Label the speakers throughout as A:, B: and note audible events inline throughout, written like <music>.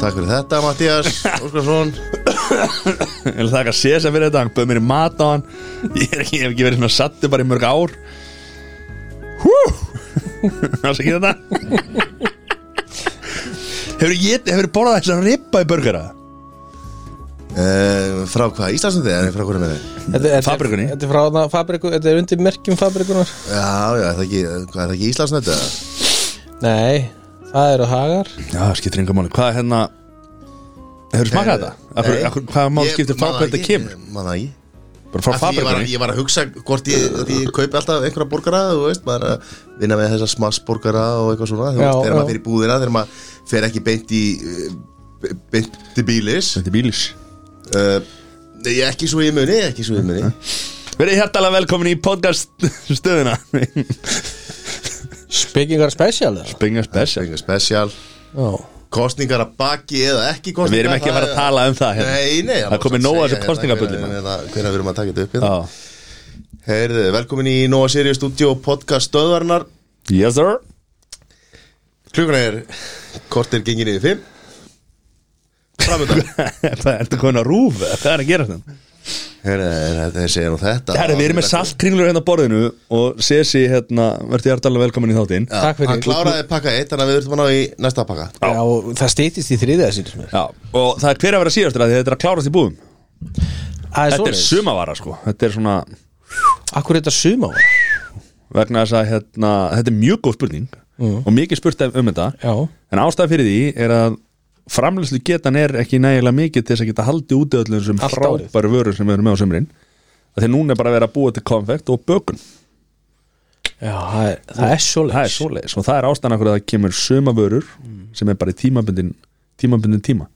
A: Takk fyrir þetta Mattias
B: <laughs>
A: Óskarsson
B: Ég vil þakka Sesa fyrir þetta, hann bauð mér í mat á hann Ég, er ekki, ég hef ekki verið svona sattu bara í mörg ár Hú Það sé ekki hérna? þetta Hefur ég, hefur ég borðað þess að rippa í burgera? Eh,
A: uh, Frá hvað? Íslandsum þið? Frá hverju með þið?
C: Þetta er- þetta er-
B: Fabrikunni?
C: Þetta er frá þarna fabriku, þetta er undir merkjum fabrikunar
A: Já, já, er það ekki, hvað, er það ekki Íslandsnett eða?
C: Nei, það eru hagar
B: Já, skiptir yngur máli Hvað er hérna Hefur smakað þetta? Af hverju-
A: Nei.
B: af hverju- Hvaða máli
A: Ég
B: skiptir frá
A: man það
B: hvernig þetta
A: ekki,
B: kemur?
A: ég Man það ekki
B: Bara frá
A: Af því ég var,
B: fabrikunni
A: ég var að hugsa hvort ég, að því ég kaupi alltaf einhverja borgara þú veist, maður er að vinna með þessa smassborgara og eitthvað svona, þú
C: Já,
A: veist, þegar
C: já.
A: maður fyrir búðina þegar maður fer ekki beint í eh, beint til bílis
B: Þetta er bílis
A: uh, Nei, ekki svo ég muni, ekki svo ég muni
B: Verið hjertalega velkomin í podcast stöðuna
C: Spekingar special eða?
B: Benga spes
A: Eitthvað spesial,
C: Já
A: kostningar að baki eða ekki kostningar
B: Við erum ekki að fara að tala um það hérna.
A: Nei, nei,
B: Það komið nóg að þessu kostningabullinu.
A: Hvernig hérna, við erum að taka þetta upp hérna
B: Já.
A: Heyrðu, velkomin í Nóa Sirius Studio podcast stöðvarnar
B: Yes sir
A: Klukkan er kortir gengin yfir fimm Framöndan
B: <laughs> Það ertu komin að rúf eða Hvað er að gera hérna? þetta?
A: Þeir segja nú þetta
B: Herri, við erum með saltkringlur hérna á borðinu og Sesi, hérna, verður hjertalega velkomin í þáttinn
A: Já,
C: Takk fyrir.
A: Hann kláraði pakka eitt Þannig að við þurfum að ná í næsta pakka
C: Já, og það stýttist í þriðið sínir mér
B: Já, og það er hver að vera síðastur að þetta er að klárast í búðum
C: Það
B: Þetta er
C: svoleiðis.
B: sumavara sko, þetta er svona
C: Akkur er þetta suma á
B: vegna þess að hérna, þetta er mjög góð spurning og mikið spurt um þetta
C: Já
B: en ástæð fyrir því er að framlýslu getan er ekki nægilega mikið til þess að geta haldið út öllum sem
C: Allt árið.
B: frábæru vörur sem við erum með á sömurinn þegar núna er bara að vera að búa til konfekt og bökun
C: Já, það er, það er svoleiðis
B: það er svoleiðis og það er ástæðan akkur að það kemur sömavörur sem er bara í tímabundin tímabundin tíma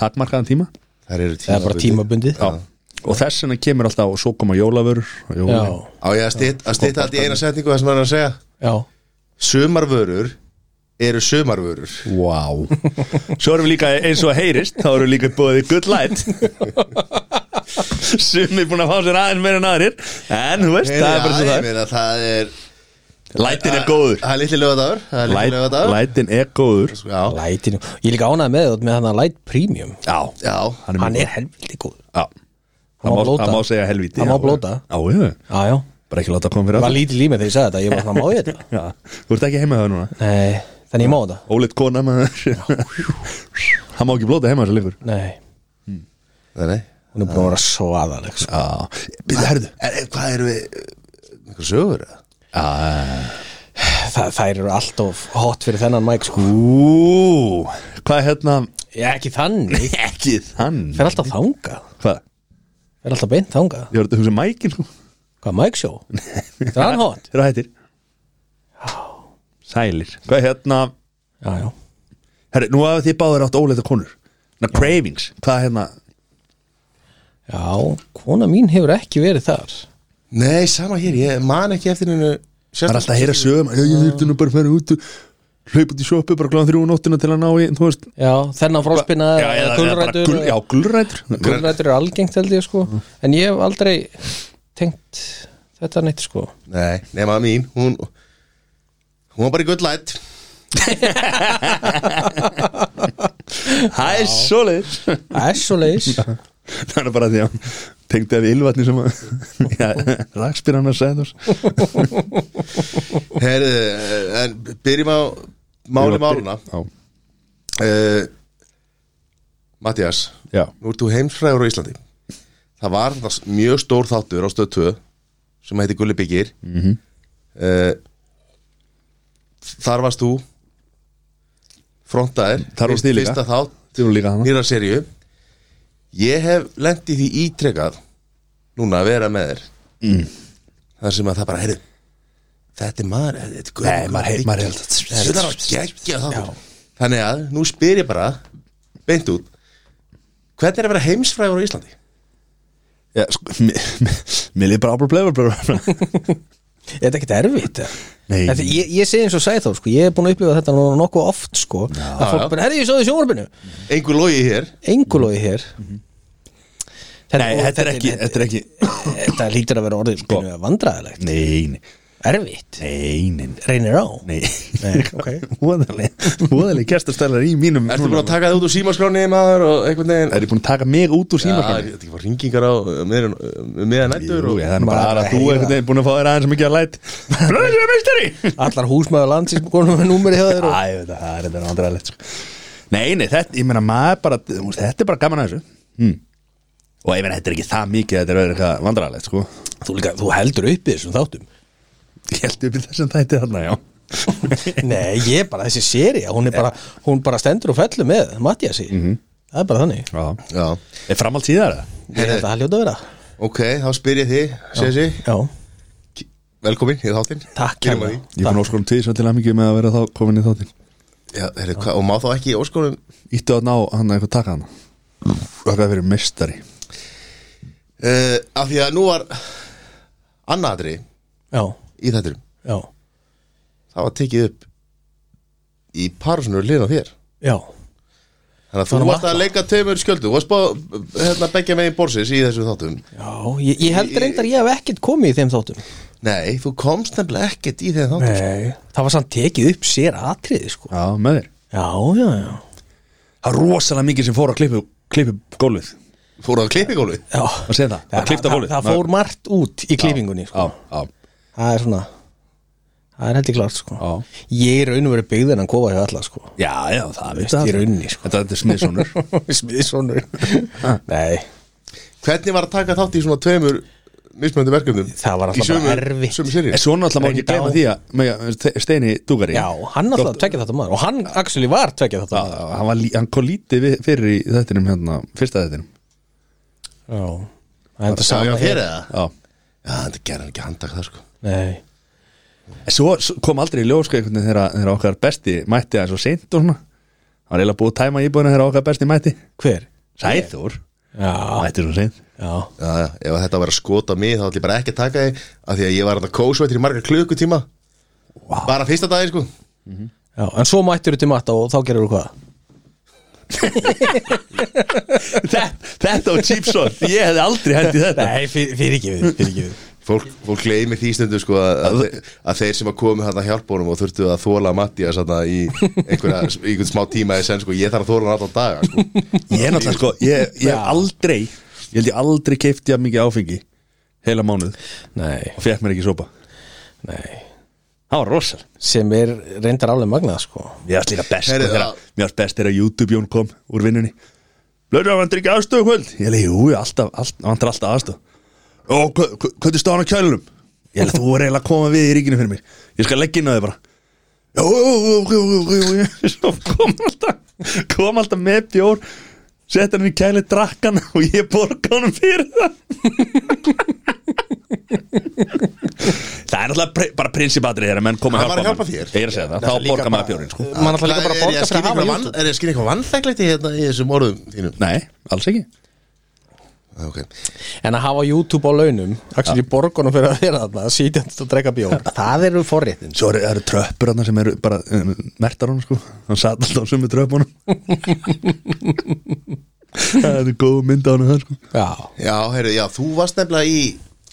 B: takmarkaðan tíma
A: Það eru
C: Það er bara tímabundið
B: Já. og þess vegna kemur alltaf og svo koma jólavörur og
C: Já,
B: jólin.
A: Á ég að stytta styt allt í eina setningu Það sem hann er að segja
C: já.
A: Sumarvörur eru sumarvörur
B: Wow. Svo erum við líka eins og að heyrist þá erum við líka búið í good light Sumi búin að fá sér aðeins meira en aðrir En þú veist, það er bara svo
A: Já, ég
B: það er.
A: meina, Það er
B: Lætin er góður
A: Það er litli lögadagur Það er litli
B: Læt,
A: lögadagur
B: Lætin er góður
A: Já,
C: Lætinu Ég er líka ánægð með þetta með hann að light premium
B: Já,
A: já
B: hann er,
C: Hann
B: mjög
C: er helviti góð
B: góður. Já.
C: Hann
B: Það
C: má
B: má,
C: blóta.
B: það má segja helvíti
C: Hann má
B: já.
C: blóta.
B: Já, já,
C: Já, já
B: bara ekki láta að koma fyrir
C: Það var
B: aftur.
C: lítið límið þegar ég sagði þetta Ég var svona má ég þetta
B: Já, Þú ert ekki heima það núna
C: Nei, þannig ég má þetta
B: Óleitt kona maður Hann má ekki blóta heima þessu leikur
C: Nei,
A: Nei, nei
C: hún er búin að vera svaðaleg sko.
B: Já, byrðu herðu
A: Er- er- Hvað erum við eh, Eitthvað sögur eða?
C: Þa, Þær eru alltof hot fyrir þennan mæk sko.
B: Ú, hvað er hérna
C: Já, ekki þannig
B: Ekki þann
C: Fer alltaf þangað
B: Hvað?
C: Fer alltaf beint þangað
B: Ég var að hugsa mækin sko
C: Hvað, mæk sjó? Það er hann hot
B: Þeirra hættir Sælir Hvað er hérna
C: Já, já
B: Herri, nú hafið þið báður átt óleita konur Na, Cravings Hvað er hérna
C: Já, kona mín hefur ekki verið þar
A: Nei, sama hér, ég man ekki eftir hennu
B: Það er alltaf að heyra sögum "Já, Ég þurfti nú bara að fara út og Hlaupa út í sjoppu Bara gláðan þrjú á nóttina til að ná í Þú veist
C: Já, þennan fróspina
B: Já, eða- eða bara
C: gulrætur
B: gul- Já, Mhm. gulrætur
C: Gulrætur eru algengt held ég sko En ég hef aldrei tengt þetta neitt sko
A: Nei, nema mín, hún Hún var bara í good light
B: Það er svoleiðis
C: Það er svo leis
B: <laughs> Það er bara því að Tengdi að við ylvatni sem að Já, rakspyr hann að segja þess
A: Herðu, eh, en byrjum á Máli máluna
B: Já,
A: uh, Mattias,
B: já,
A: nú ert þú heimsfræður á Íslandi Það var þar mjög stór þáttur á stöð 2 sem heiti Gulli Byggir mm Þar varst þú frontaðir
B: Þar varst þið líka.
A: Fyrsta þátt
B: þú líka hana
A: nýra serju ég hef lent í því ítrekað núna að vera með þér mm. þar sem að það bara heyrðu þetta er maður þetta er
B: Nei, maður heyr- maður heyr-
A: þetta er að gegja þá þannig að nú spyr ég bara beint út hvernig er að vera heimsfræður á Íslandi?
B: Já, sko, mér- mér- Mér líður bara ábúr bleifur bara
C: Er þetta ekkert erfitt? eða?
B: Nei.
C: Þetta, ég, ég segi eins og sæði þá sko, ég hef búin að upplifa þetta nú nokkuð oft sko að fólk
A: já.
C: bara, herri ég svo í sjónvarpinu
A: einhver logi hér
C: Engulói hér
B: Nei, þetta er ekki, þetta er ekki
C: Þetta lítur að vera orðið sko. vandræðilegt
B: Nei, nei
C: erfitt
B: Nei, nei,
C: reynir á
B: nei
C: <laughs>
B: Voðaleg kestastælar í mínum
A: Ertu búin að taka það út úr símaskráni maður og einhvern veginn
B: Er ég búin að taka mig út úr
A: Já, þetta
B: símakanni?
A: er ekki bara ringingar á uh, meðan nættur
B: Jú,
A: og
B: ég þannig bara
C: Bara
B: aðra þú
C: heyra.
B: einhvern veginn búin að fá þér aðeins mikið að læt Blöðsum meistari
C: allar húsmaður landsins konum með númeri hjá þér og...
B: Æ, þetta það er þetta andra leitt Nei, nei, þetta, ég meina maður bara þú veist, Þetta er bara gaman að þessu hm. Og ég meina, þetta er ekki það mikið Þetta er verið eitthvað vandrarlegt, sko
C: þú, líka, þú heldur uppi þessum þáttum
B: Ég held upp í þessum þætti þarna, já
C: <laughs> Nei, ég er bara þessi séri hún, er bara, hún bara stendur og fellur með Mattiasi, það er bara þannig
B: Já.
A: Já,
B: Er framhald síðar? eða?
C: Ég held að það hljóta að vera
A: ok, þá spyr ég þig, Sessi
C: Já,
A: Velkomin í þáttinn
C: Takk,
A: Byrjum á
C: kærlega.
A: því.
B: Ég fann óskorum tíð svo til að mikið með að vera þá komin í þáttin
A: Já, heyrðu, hva, Og má þá ekki í óskonum
B: Íttu að ná hann eitthvað taka hann Það er verið meistari
A: uh, Af því að nú var annaðri
C: já,
A: í þættinum
C: já,
A: Það var tekið upp í parsunur liðan á þér
C: já
A: Þannig að
C: Það
A: þú
C: var
A: varst að leika tveimur skjöldu Þú varst bá hérna begja megin borsins í þessum þáttum
C: Já, ég, ég held reyndar ég hef ekkert komið í þeim þáttum
A: Nei, þú komst nefnilega ekkert í þeim þáttum
C: Nei Það var samt tekið upp sér atriði sko
B: Já, með þér
C: Já, já, já
B: Það er rosalega mikið sem fór að klippu, klippu gólfið
A: Fóruðu á klippigólfið?
C: Já
B: Að segja það, að klippta gólfið
C: Það fór margt út í klippingunni sko
B: Já, já,
C: Það er svona Það er heldur klart sko
B: Já.
C: Ég er raun og verið byggðin að kofa hjá alla sko
B: já, já, það
C: Veist, í rauninni,
B: <laughs>
C: sko.
B: Þetta þetta er smiðsónur
C: Smiðsonur <laughs> Nei
A: Hvernig var að taka þátt í svona tveimur mismöndu verkefnum?
C: Það var alltaf
A: Í sömu-
C: bara erfitt.
A: sömu seríu?
B: En svo náttúrulega má ekki
C: Reynir
B: gleyma
C: dá.
B: því að mega- Steini Dugari
C: Já, hann alltaf tvekja þetta maður og hann actually var tvekja þetta maður
B: Hann, var, lí- hann kom lítið við- fyrir í þettinum hérna, fyrsta þettinum
C: Já Það er þetta
A: Sá ég
C: sama
A: að fyrir það?
B: Já
A: Já, þetta gerði hann ekki að handtaka það sko
C: Nei
B: Svo svo kom aldrei í ljós sko, einhvern veginn þegar, þegar okkar besti mætti aðeins og seint og svona Það var eiginlega búið að tæma íbúðina þegar okkar besti mætti
C: Hver?
B: Sæþór
C: Já,
B: Mætti svo seint
C: já
A: Já, já, ef þetta var að skota mig þá ætlum ég bara ekki að taka þig af því að ég var að kósvættir í marga klukkutíma
B: Vá.
A: Bara fyrsta dagi sko
C: Já, en svo mættur þú til matta og þá gerur þú hvað?
B: Þetta- Þetta var cheap shot Ég hefði aldrei hendið þetta
C: Nei, fyrir ekki við, fyrir ekki við.
A: Fólk, fólk gleymi því stundu sko að, að, þe- að þeir sem að komi hérna að hjálpa honum og þurftu að þóla Mattias hérna í <laughs> einhverja, í einhvern smá tíma í senn sko, ég þarf að þóla hann alltaf daga sko
B: Ég er náttúrulega sko, ég, ég hef aldrei Ég held ég aldrei keifti að mikið áfengi Heila mánuð
C: Nei,
B: og fekk mér ekki sopa
C: nei.
B: Það var rosal
C: Sem er reyndar alveg magnað, sko.
B: Mér varst líka best sko,
A: Heyrðu,
B: þegar,
A: já.
B: Mér varst best þegar YouTube Jón kom úr vinnunni Blöður að vantur ekki aðstöðu kvöld Ég leiði, jú, ég alltaf, alltaf, vantur alltaf aðstöð Ó, hva- hva- hvernig stóð hann á kjölunum? Ég held þú var eiginlega að koma við í ríkinu fyrir mér Ég skal leggja inn á þig bara Jú, jú, jú, jú, jú, jú, jú Svo kom alltaf Kom alltaf með bjór Sett hann í kæli drakkan og ég borga honum fyrir það Það er alltaf pre bara prinsipatrið þegar menn koma
A: Hann var að
B: manni.
A: hjálpa þér.
B: Ég er að segja það, þá borga maður bjórin sko
C: Man ætla líka bara að
A: Er ég að skýra
C: borga fyrir að hafa
A: eitthvað vann-
C: YouTube.
A: er ég að skýra eitthvað vannþæklegt í hérna í þessum orðum þínum?
B: Nei, alls ekki
A: Okay.
C: En að hafa YouTube á launum, actually ja. borgunum fyrir að vera þarna, sítjandi og drekka
A: <laughs>
C: bjór. það eru
A: sko.
C: forréttin.
B: Svo eru, eru tröppur hann sem eru bara um, mertar hann sko Hann satt alltaf á sömu <laughs> tröppunum Það er góð mynd á hann það sko
C: Já.
A: Já, heyrðu, já, þú varst nefnilega í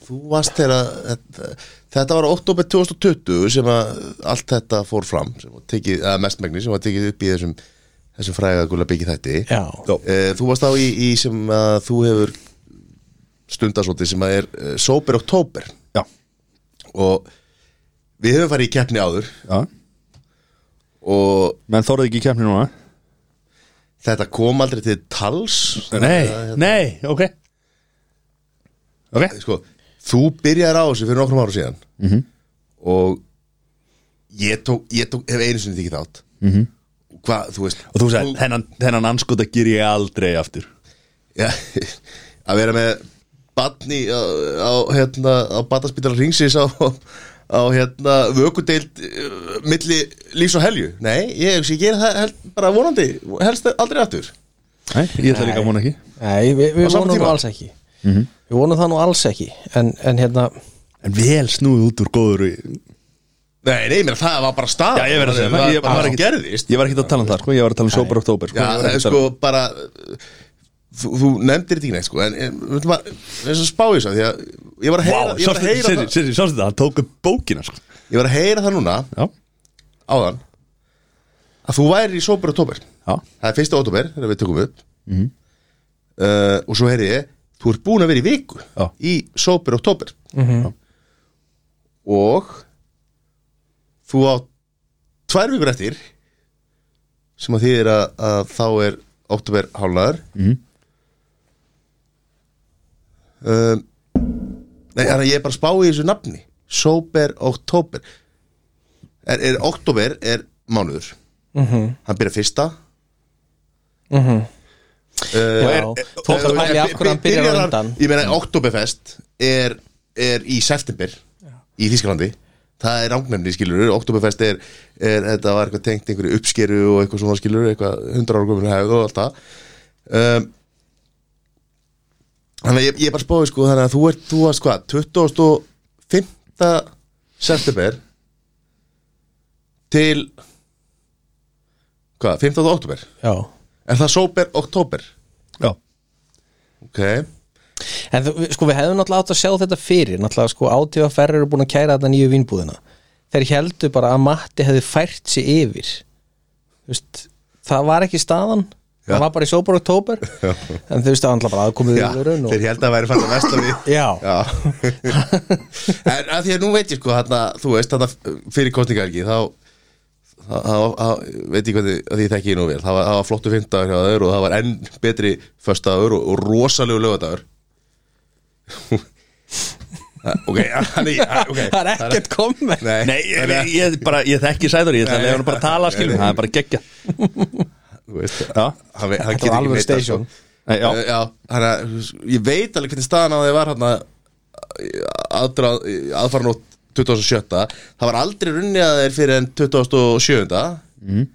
A: Þú varst þegar að þetta, þetta var oktober 2020 sem að allt þetta fór fram sem var tekið, eða mestmægni sem var tekið upp í þessum þessum fræga gula byggið þætti
C: Já.
B: Jó.
A: Eh, Þú varst þá í, í sem að þú hefur stundasóti sem að er eh, sober oktober
B: Já,
A: og við höfum farið í keppni áður
B: já
A: og
B: Menn þorðu ekki í kemni núna
A: þetta kom aldrei til tals
B: Nei, hérna. nei, ok Ok,
A: sko, þú byrjar á þessu fyrir nokkrum ára síðan
B: Mhm.
A: -hmm. og ég tók, ég tók hef einu sinni þykir þátt mm -hmm. hvað, þú veist
B: Mhm. og þú sagði, þennan, þennan anskota gýr ég aldrei aftur
A: ja, <laughs> að vera með batni á, á, hérna, á bataspítala ringsins á, á hérna, vökudeild uh, milli lífs og helju nei, ég, ég, ég gera það held, bara vonandi helst aldrei aftur
B: Nei, ég ætla líka að vona ekki
C: Nei, við,
A: Á
C: við
A: sama
C: vonum
A: tíma?
C: nú alls ekki.
B: Mhm.
C: Við vonum það nú alls ekki. En, en hérna,
B: En vel snúið út úr góður í-
A: nei, nei, mér, það var bara stað
B: Já, ég verð að segja það,
A: það
B: ég Ah.
A: var
B: var
A: bara
B: ekki-
A: gerðist
B: Ég var ekki að tala um það sko, ég var að tala um sober oktober sko.
A: Já,
B: Ég var
A: það er
B: ekki að
A: sko
B: tala-
A: bara uh, Þú, þú nefndir þetta ekki neitt sko En en, við veitum að, þess að spá því að Ég var að heyra,
B: Vá,
A: ég var að
B: sástu-
A: heyra
B: Sirri,
A: það
B: Sirri, sástu það, hann tók upp bókina sko
A: Ég var að heyra það núna
B: Já,
A: áðan að þú væri í sópur oktober
B: já,
A: það er fyrsta oktober þegar við tökum upp
B: Mhm.
A: uh, og svo heyri ég þú ert búin að vera í viku
B: Já. Mhm.
A: í sópur oktober og þú á tvær vikur eftir sem að þýðir að, að þá er oktober hálnaður
B: Mhm.
A: um, nei, þannig að ég er bara að spá í þessu nafni Sober Oktober er, er Oktober er mánuður
C: Mhm.
A: hann byrja fyrsta
C: Já,
A: uh,
C: þú átt að pæli af hverju hann byrjar á undan
A: Ég meina, Oktoberfest er, er í september í Þísklandi Það er rangnefni, skilur Oktoberfest er, er þetta var eitthvað tengt einhverju uppskeru og eitthvað svona skilur eitthvað hundra ára komin hefð og allt það um, Þannig að ég, ég bara spóði sko þannig að þú ert, þú varst hvað, 25. september til hvað, 15. oktober
C: Já
A: Er það sober oktober?
B: já
A: Ok
C: En þú, sko við hefðum náttúrulega átt að sjá þetta fyrir Náttúrulega sko átífaferri eru búin að kæra þetta nýju vínbúðina Þeir heldur bara að Matti hefði fært sig yfir Þú veist, Það var ekki staðan
A: Já.
C: Það var bara í sópar oktober
A: <laughs>
C: En þú veist það var náttúrulega bara aðkomið
A: Já,
C: vörun og...
A: þeir held að væri fann að vesla við
C: <laughs> Já,
A: Já En að því að nú veit ég sko hana, þú veist hana fyrir kostningarki þá þá- þá- þá- veit ég hvernig að því ég þekki ég nú vel það var, það var flottu fimmtagur hjá þaður og það var enn betri föstagur og, og rosalegu lögadagur <laughs> Ok, hann er okay.
C: það er ekkert komið
A: Nei,
B: Nei, ég, ég, ég, bara, ég þekki sæður, ég ætla að leiða hann bara að tala skilum Það er bara geggja
A: þú veist
B: Já,
A: hann, veit- hann
C: Þetta
A: getur
C: var
A: ekki
C: alveg
A: veit það, sko.
C: station
B: Nei, já,
A: já, já hana, ég veit alveg hvernig staðan á því var hana, aðdra, aðfaranótt 2007 það var aldrei runni að þeir fyrir en 2007 mm.
B: Mhm.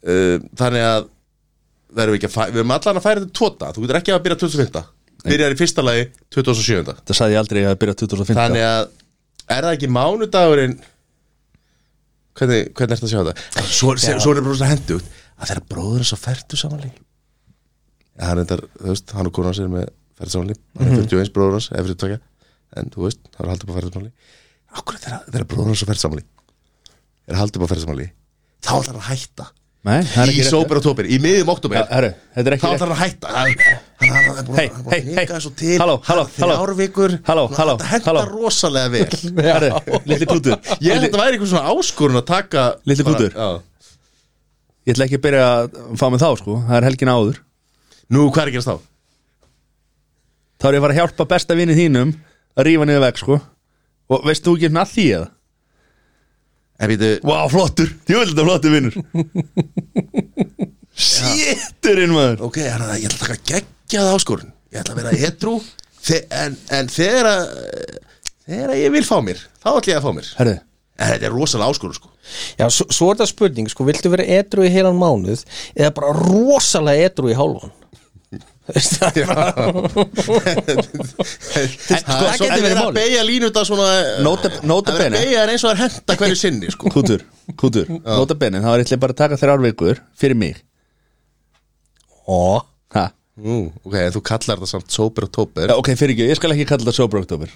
A: Eh, þannig að það erum við ekki að færa við erum allan að færa þetta tóta þú getur ekki að byrja 2005 byrjar í fyrsta lagi 2007
B: það sagði ég aldrei að byrja 2015
A: þannig að er það ekki mánudagurinn hvernig, hvernig er þetta að sjá þetta svo, er- svo er það bara hendu út að þeirra bróður er svo færtu samanlík hann er þú veist, hann og konan sér með færtu samanlík hann
B: Mhm.
A: er 41 bróður hans, efri tvekja en þú veist, hann er haldið upp á færtu samanlík okkur þeirra, þeirra bróður hans svo færtu samanlík er haldið upp á færtu samanlík þá ætlar hann að hætta
B: Nei, það er
A: í
B: ekki rétt.
A: sóper og tóper, í miðjum oktober
B: Já, herru, Þetta er
A: þá
B: ekki
A: ætlar hann að hætta Hann- hann hann- hann er búin
B: Hey,
A: að- hann er
B: hey,
A: búin að
B: hey.
A: hika þessu til
B: Halló, halló, halló.
A: þrjárvíkur
B: Halló, halló,
A: þetta henda
B: halló.
A: rosalega vel
B: Herru, Lilli Plútur
A: <laughs> ég held að þetta væri einhver svona áskorun að taka
B: Litli
A: bara-
B: bútur.
A: já.
B: Ég ætla ekki að byrja að fá mig þá sko Það er helgin áður
A: nú hvað er að gerast þá
B: Þá er ég að fara að hjálpa besta vinni þínum Að rífa niður veg sko Og veist þú ekki með því eða?
A: en býtu
B: Vá, flottur, ég vil þetta flottur vinnur Séturinn maður
A: ok, hann er að- ég ætla að taka geggjað áskorun ég ætla að vera edru þe en, en þegar að þegar að ég vil fá mér þá ætla ég að fá mér
B: Herru,
A: en þetta er rosalega áskorun sko
C: Já, svo, svo er það spurning, sko, viltu vera edru í heilan mánuð eða bara rosalega edru í hálfan Veist það er bara-
A: það
C: það getur verið
A: verið
C: málið.
A: að beigja línu þetta svona
B: Nota- nota
A: það er að
B: bene.
A: beigja þær eins og það er henda hverju sinni sko
B: kútur, kútur Nota benin, þá er ég ætla bara að taka þrjár vikur Fyrir mig
C: Ó,
B: ha.
A: Nú, ok, en þú kallar það samt sober og tober
B: Já, Ok, fyrir ekki, ég skal ekki kalla þetta sober oktober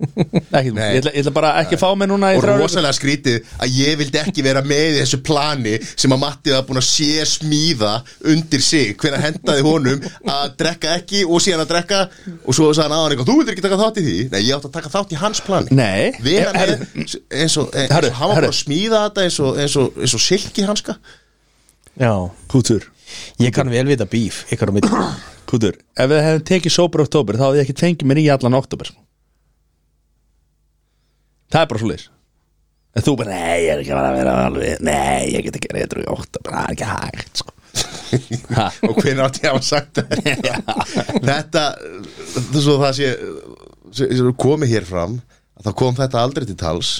B: Ekki,
A: Nei.
B: ég ætla, ég ætla bara ekki að fá mig núna í
A: Og
B: þrjár vikur
A: rosalega skrítið að ég vildi ekki vera með í þessu plani sem að Matti var búin að sé smíða undir sig hver að hendaði honum að drekka ekki og síðan að drekka og svo sagði hann aðan eitthvað, þú vildir ekki taka þátt í því Nei, ég átti að taka þátt í hans plani
B: Nei,
A: Vera með
B: herru,
A: eins og, eins
B: Herru,
A: og hann var
B: herru.
A: búin að smíða þetta eins og, eins og, eins og silki hanska
C: <laughs> já
B: kútur
C: Ég kann vel vita bíf, ég kann á mitt
B: Kútur, ef við hefum tekið sober oktober þá hefði ég ekki fengið mér í allan oktober Það er bara svo leys En þú bara, nei, ég er ekki að fara að vera alveg Nei, ég get ekki að reyður í oktober Það er ekki hægt sko. Ha.
A: og hvernig átti ég að hafa sagt þetta þetta þú svo það sé, sé sé- komið hér fram að þá kom þetta aldrei til tals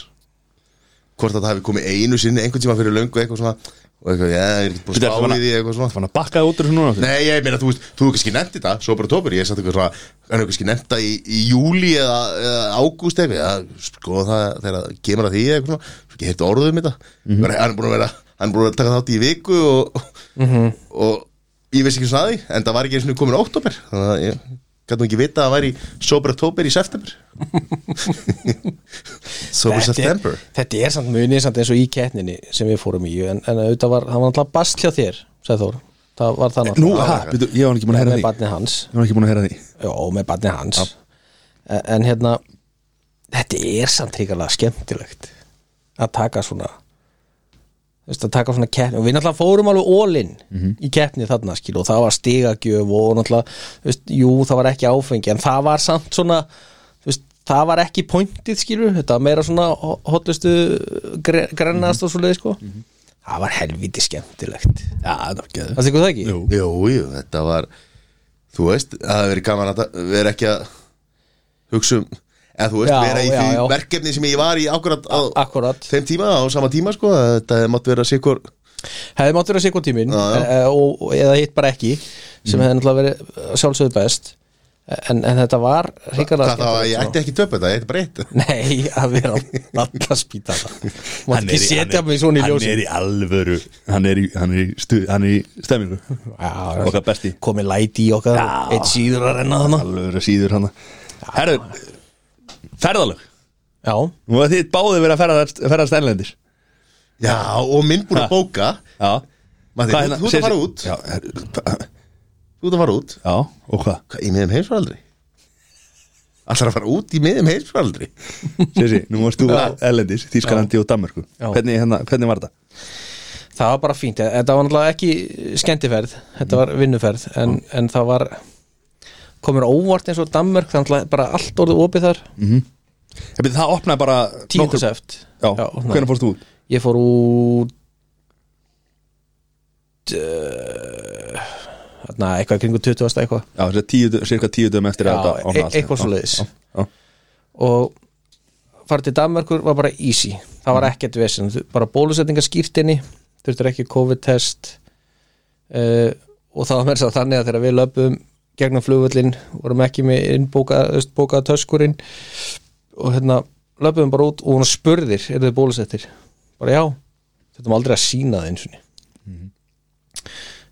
A: hvort að það hafi komið einu sinni einhvern tíma fyrir löngu eitthvað svona og eitthvað, já, ég er ekki búin
B: Þetta er
A: að spá
B: svona-
A: í því eitthvað svona
B: Fann að bakka út úr þessu núna aftur.
A: Nei, ég meina, þú veist, þú hefur kannski nefnt þetta Svo bara tópur, ég er satt eitthvað svona Hann hefur kannski nefnt það í, í júli eða, eða ágúst eitthvað Já, sko það þegar það kemur að því eða eitthvað svona Svo ekki heyrti orðum þetta mm Hann er búin að vera, hann er búin að taka þátt í viku Og, og ég veist ekki svona að því En það var ekki eins og komin óttúber Þannig að ég Gætum ekki vita að það væri Sober October í september Sober September
C: er, þetta er samt munið samt eins og í kettninni sem við fórum í en, en auðvitað var, það var náttúrulega bast hjá þér sagði Þór, það var það
B: Eh, Nú,
C: náttúrulega
B: ha, byrju, ég var ekki búin að heyra
C: með
B: því Ég
C: barnið hans
B: var ekki búin að heyra því
C: Jó, með barnið hans en, en hérna þetta er samt ríkarlega skemmtilegt að taka svona þú veist, að taka svona keppni og við náttúrulega fórum alveg ólinn
B: Mhm.
C: í keppni þarna skil og það var stigagjöf og náttúrulega, þú veist, jú það var ekki áfengi en það var samt svona þú veist, það var ekki pointið skilur þetta var meira svona hotlustu
B: Mhm.
C: grennast og svoleið sko það var helviti skemmtilegt
B: Já, það var geður
C: Það tekur það ekki?
B: Jú.
A: Jú, jú, þetta var Þú veist, það hefði verið gaman að það- vera ekki að hugsa um eða þú veist,
C: Já,
A: vera í
C: já,
A: því
C: já.
A: verkefni sem ég var í akkurat á
C: Akkurat
A: þeim tíma, á sama tíma sko að þetta mátt vera sikur
C: hefði mátt vera sikur tímin
A: Já, já.
C: e- e- og, og, eða hitt bara ekki
B: Mm.
C: sem hefði náttúrulega verið eh, sjálfsögðu best en, en þetta var
A: hvað
C: hrikalega
A: það var, ég
C: skemmtilegt,
A: ætti ekki töpa þetta, ég ætti bara eitt
C: sko. Nei, að vera alltaf
B: <laughs>
C: spítala Mátt ekki setja mig svona í
B: Hann er
C: ljósi
B: í alvöru Hann er í, hann er í, stu, hann er í stemmingu Okkar besti
C: Komið læti í okkar
B: Já.
C: Eitt síður að renna þarna
B: Alvöru síður hann Herðu, ferðalög
C: Já,
B: Nú að þið báði verið að ferðast, ferðast erlendis
A: Já, og minn búin að bóka
B: Já
A: Matti, þú-
B: Hvað
A: þú
B: hérna-
A: ert að
B: segir-
A: fara út
B: Já, her-
A: Þú ert að fara út
B: já, og hvað?
A: Hvað, Í miðum heimsfaraldri Allar að fara út í miðum heimsfaraldri
B: Sessi, nú varst þú
A: Já.
B: erlendis, Þískalandi og Danmörku
C: Já.
B: hvernig, hérna, hvernig var þetta?
C: það var bara fínt Þetta var náttúrulega ekki skemmtiferð Þetta var vinnuferð En, en það var komur óvart eins og Danmörk Þannig að bara allt orðið opið þar
B: Ég byrja, það opnaði bara nokkur-
C: Tíunduseft
B: Já, hvernig fórst þú út?
C: Ég fór út uh, þarna, eitthvað í kringu 20. eitthvað
B: Já, þessi tíu, cirka tíu dögum eftir að
C: Já,
B: þetta opnaði
C: e-
B: allt.
C: eitthvað
B: Já,
C: svoleiðis.
B: já, já.
C: og farið til Danmerkur var bara easy það var ekkert vesinn, bara bólusetninga skýrtinni þurftur ekki COVID-test uh, og það var mér svo þannig að þegar við löpum gegnum flugvöllin, vorum ekki með innbókaða töskurinn og hérna löpum bara út og hún spurðir, eru þið bólusettir bara já, þetta var aldrei að sína það eins og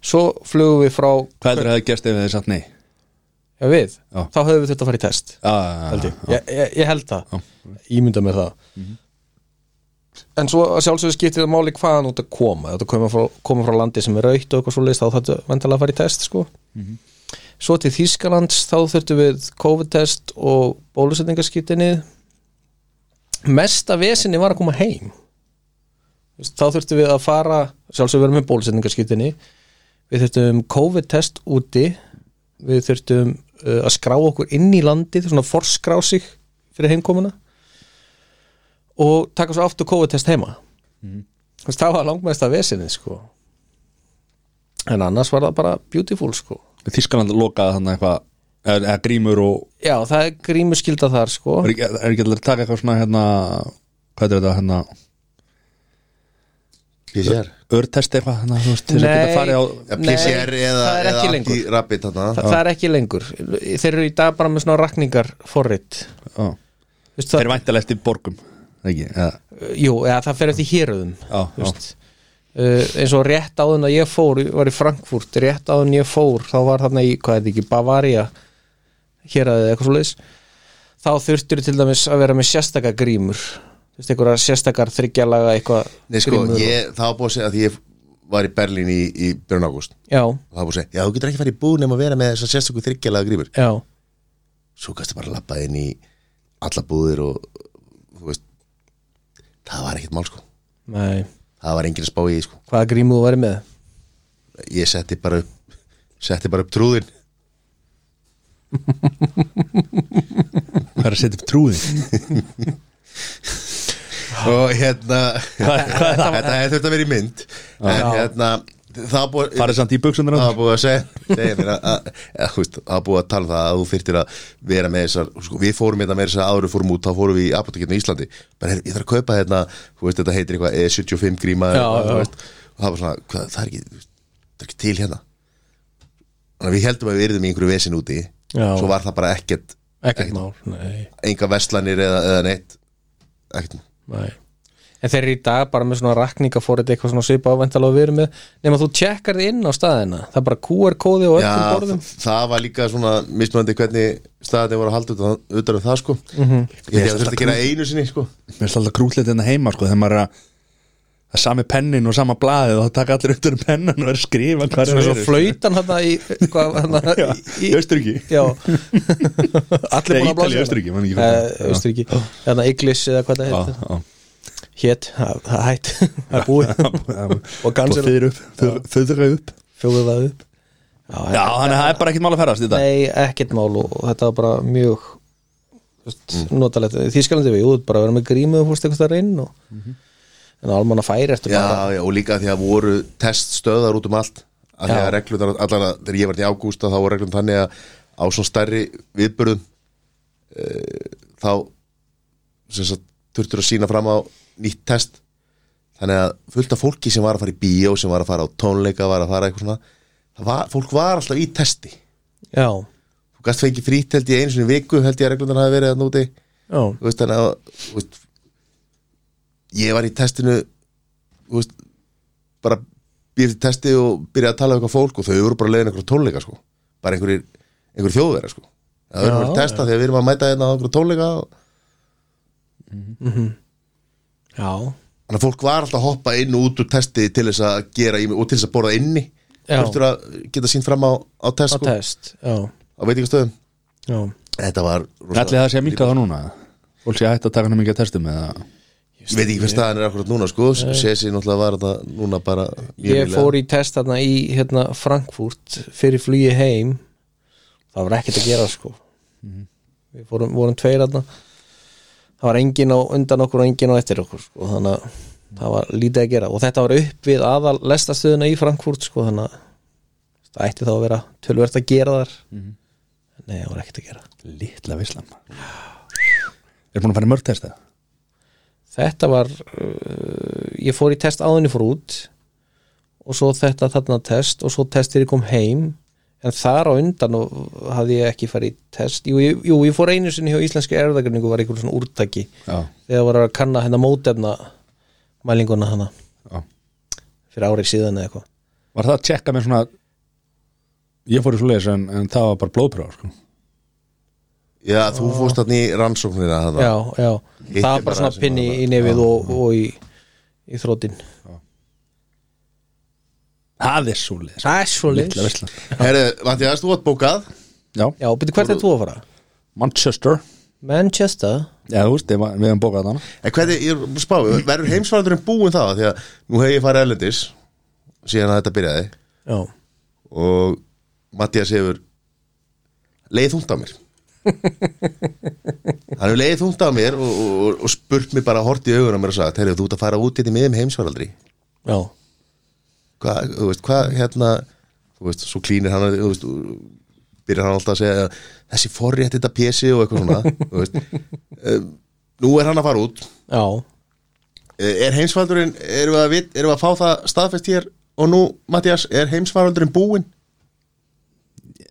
C: svo flugum við frá
B: Hvað heldur að það gerst ef þið sagt nei?
C: já við,
B: Já.
C: þá höfum við þetta að fara í test
B: Já, já,
C: held ég,
B: já.
C: ég, ég, ég held það ímynda með það en svo að sjálfsögur skiptir það máli hvaðan út að koma, þetta koma frá, koma frá landi sem er raukt og eitthvað svo leist, þá þarftu vendalega að fara í test sko svo til Þýskalands þá þurftum við COVID-test og bólusetningarskiptinni mesta vesinni var að koma heim Þú veist, þá þurftum við að fara sjálfsögur verðum með bólusetningarskiptinni við þurftum COVID-test úti við þurftum uh, að skrá okkur inn í landið, svona forskrá sig fyrir heimkomuna og taka svo aftur COVID-test heima mm. það var langmest að vesinni sko en annars var það bara beautiful sko
B: Þískaland lokaði þannig eitthvað eða eða grímur og
C: já, það er grímuskylda þar sko
B: er ekki, er ekki allir að taka eitthvað svona hérna hvað er þetta hérna
A: PCR
B: örtest eitthvað hérna þú veist til þess að
C: Nei.
B: geta farið á
A: Ja,
C: Nei,
A: PCR eða,
C: það er
A: eða
C: ekki lengur.
A: anti-rabbit þarna
C: Þa, það er ekki lengur þeir eru í dag bara með svona rakningar forrit
B: á,
C: Vist,
B: þeir
C: það,
B: væntalega eftir borgum ekki eða,
C: jú, eða, það fer eftir héröðum
B: á,
C: Þú
B: á.
C: veist. uh, eins og rétt áðun að ég fór ég var í Frankfurt, rétt áðun ég fór þá var þarna í, hvað er þetta ekki, Bavaria hér að eitthvað svo leis þá þurftur til dæmis að vera með sérstaka grímur þú veist, einhverja sérstakar þryggjalaga eitthvað
A: Nei sko,
C: grímur og-
A: ég, það var búið að segja að því ég var í Berlín í, í björn ágúst
C: já,
A: og það var búið að segja, já þú getur ekki farið í búð nema að vera með þess að sérstöku þryggjalaða grímur
C: já,
A: svo kannski bara að lappa inn í alla búðir og þú veist það var ekkert mál sko
C: nei
A: það var enginn að spá í því, sko
C: hvaða grímu þú væri með?
A: ég setti bara upp setti bara upp trúðin
B: hvað er að setja upp trúðin
A: og hérna
B: hvað
A: <laughs> þetta hefði þurft að vera í mynd en
C: Já.
A: hérna það var búið
B: farið samt í buksunar á
A: það var búið að segja, segja mér að, að, að, þú veist, það var búið að tala um það að þú þyrtir að vera með þessar sko, við fórum hérna með þessar áður við fórum út þá fórum við í apotekinu í Íslandi bara heyrðu, ég þarf að kaupa hérna þú veist þetta heitir eitthvað E75 gríma
C: Já,
A: eitthvað,
C: já.
A: þú veist, og það var svona hvað, það er ekki þú veist, það er ekki til hérna þannig að við heldum að við erum í einhverju vesin úti
C: Já.
A: svo var það bara ekkert
C: ekkert mál, nei,
A: enga verslanir eða, eða neitt ekkert
C: nei en þeir eru í dag bara með svona rakningafórið eitthvað svona svipa ávendala og við erum með nema þú tjekkar þið inn á staðina það er bara QR-kóði og öllum
A: Já,
C: borðum
A: þa- það var líka svona mismöndi hvernig staðið voru að halda utan, utan um það sko
C: Mhm.
A: Ég held að þetta að gera einu sinni sko
B: Mér finnst alltaf krútlið þetta heima sko þegar maður er að það er sami pennin og sama blaðið og þá taka allir undir um pennan og er að skrifa hvað
C: svona
B: er
C: svo flautan hann í hvað, hana,
B: <laughs> Já,
C: í,
B: í Östuríki <laughs>
C: já allir
B: Nei,
C: búin
B: Ítalíu,
C: að blása hérna.
B: Austurríki, man ekki hvað það er. Já. Ah.
C: Östuríki þannig að Iglis eða hvað það heit hétt, það það
B: <laughs>
C: hætt það er búið Og cancel.
B: Föður upp, föður- föðra upp
C: fjóðuð það upp
B: Já, þannig að það er bara ekkert mál að ferðast í dag
C: Nei, ekkert mál og þetta var bara mjög þú veist,
B: Mm.
C: notalegt, þýskalandi við, jú, þú ert bara að vera með grímu og fórst eitthvað þar inn og,
B: Mhm.
C: en almanna færi ertu bara
A: Já, já, og líka því að voru teststöðar út um allt að því að
C: Já.
A: reglundar, allan að þegar ég var í ágústa þá var reglum þannig að á svona stærri viðburðum e, þá sem sagt, þurftur að sína fram á nýtt test þannig að fullt af fólki sem var að fara í bíó sem var að fara á tónleika, var að fara eitthvað svona það var, fólk var alltaf í testi þú
C: Já,
A: gast fengið frýtt held ég einu sinni í viku held ég að reglundar hafi verið að núti
C: já,
A: þú veist þannig að þú veist, ég var í testinu þú veist, bara býr til testi og byrjaði að tala um eitthvað fólk og þau voru bara leiðin einhverja tónleika sko. bara einhverjir, einhverjir þjóðverðar sko. það verður
C: Já,
A: bara að testa þegar við erum að mæta hérna á einhverja tónleika
C: já
A: þannig að fólk var alltaf að hoppa inn og út úr testi til þess að gera í- og til þess að borða inni
C: Já.
A: þurftur að geta sínt fram á, á test
C: á
A: sko,
C: test Já,
A: á veitingastöðum
C: já
A: þetta var rosa-
B: Ætli það sé að minka það núna Fólk sé hægt að taka hann mikið að testum eða
A: ég veit ekki hvað staðan er akkurat núna sko. Sessi náttúrulega var þetta núna bara mjög
C: Ég
A: nýlega.
C: fór í test þarna í hérna, Frankfurt fyrir flugi heim það var ekkert að gera sko Við fórum, vorum tveir þarna það var engin á undan okkur og engin á eftir okkur sko, þannig að það var lítið að gera og þetta var upp við aðal lestastöðuna í Frankfurt sko, þannig að það ætti þá að vera tölvert að gera þar Nei, það var ekkert að gera
B: Litla vislam Er búin að fara í mörg testa?
C: Þetta var uh, ég fór í test áðinni fór út og svo þetta þarna test og svo testir ég kom heim en þar á undan og hafði ég ekki farið í test jú, ég- jú, ég fór einu sinni hjá íslenski erðagreiningu var einhver svona úrtaki
B: Já,
C: þegar var að kanna hérna mótefna mælinguna hana
B: já
C: fyrir árið síðan eða eitthvað
B: Var það að tjekka með svona Ég fór í svo leis en, en það var bara blóðpróf sko.
A: Já, þú fórst þarna í rannsóknina þarna.
C: já, já,
A: Hitt er
C: það var
A: bara
C: bara svona
A: sem
C: pinni
A: var
C: í nefið og, og í, í þrótin
B: Það er svo leis
C: það er svo
B: Litla
C: leys
B: vislam
A: Herru, Mattias, þú átt bókað
B: Já,
C: já, byrju, hvert er þú að fara?
B: Manchester
C: Manchester?
B: Já, þú veist, ég var- við hefum bókað hana
A: En hvernig, ég er að spá, verður heimsvaraldurinn búin það? Því að nú hef ég farið erlendis síðan að þetta byrjaði
C: já,
A: og Mattias hefur leið þungt á mér Hann hefur leið þungt á mér og, og, og- og spurt mér bara hort í augunum mér og sagt, herru, þú ert að fara út hérna í miðum heimsvaraldri
C: já,
A: Hvað, þú veist, hvað, hérna þú veist, svo klínir hann, þú veist byrjar hann alltaf að segja þessi forrétt þetta pési og eitthvað svona <laughs> þú veist um, Nú er hann að fara út
C: já
A: Eh, Er heimsfaraldurinn, erum við að, vit, erum við að fá það staðfest hér og nú, Mattias, er heimsfaraldurinn búinn?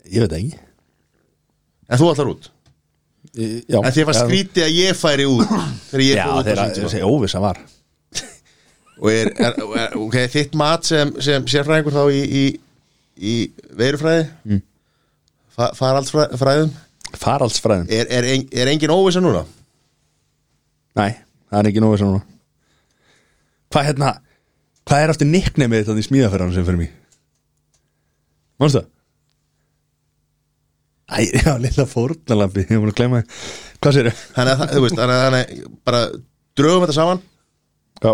B: Ég veit það ekki
A: En þú allar út
B: Í- Já,
A: En þér var
B: Já,
A: skrítið að ég færi út þegar ég
B: Já,
A: fór út á
B: þeirra,
A: sínum tíma.
B: þessi óvissa var
A: Og er, er, er okay, þitt mat sem, sem sérfræðingur þá í, í, í veirufræði mm. fa, faraldsfræðum
B: Faraldsfræðin
A: er, er, en, er engin óvisa núna?
B: Nei, það er ekki nógu sem núna Hvað hérna Hvað er aftur nicknamið þetta í smíðaferðan sem fyrir mig? Manstu það? Æ, <laughs> já, lilla fórnalambi Ég var að gleyma þið Hvað sérðu?
A: Þannig að, það- þú veist, þannig að, þannig að bara drögum þetta saman
B: Já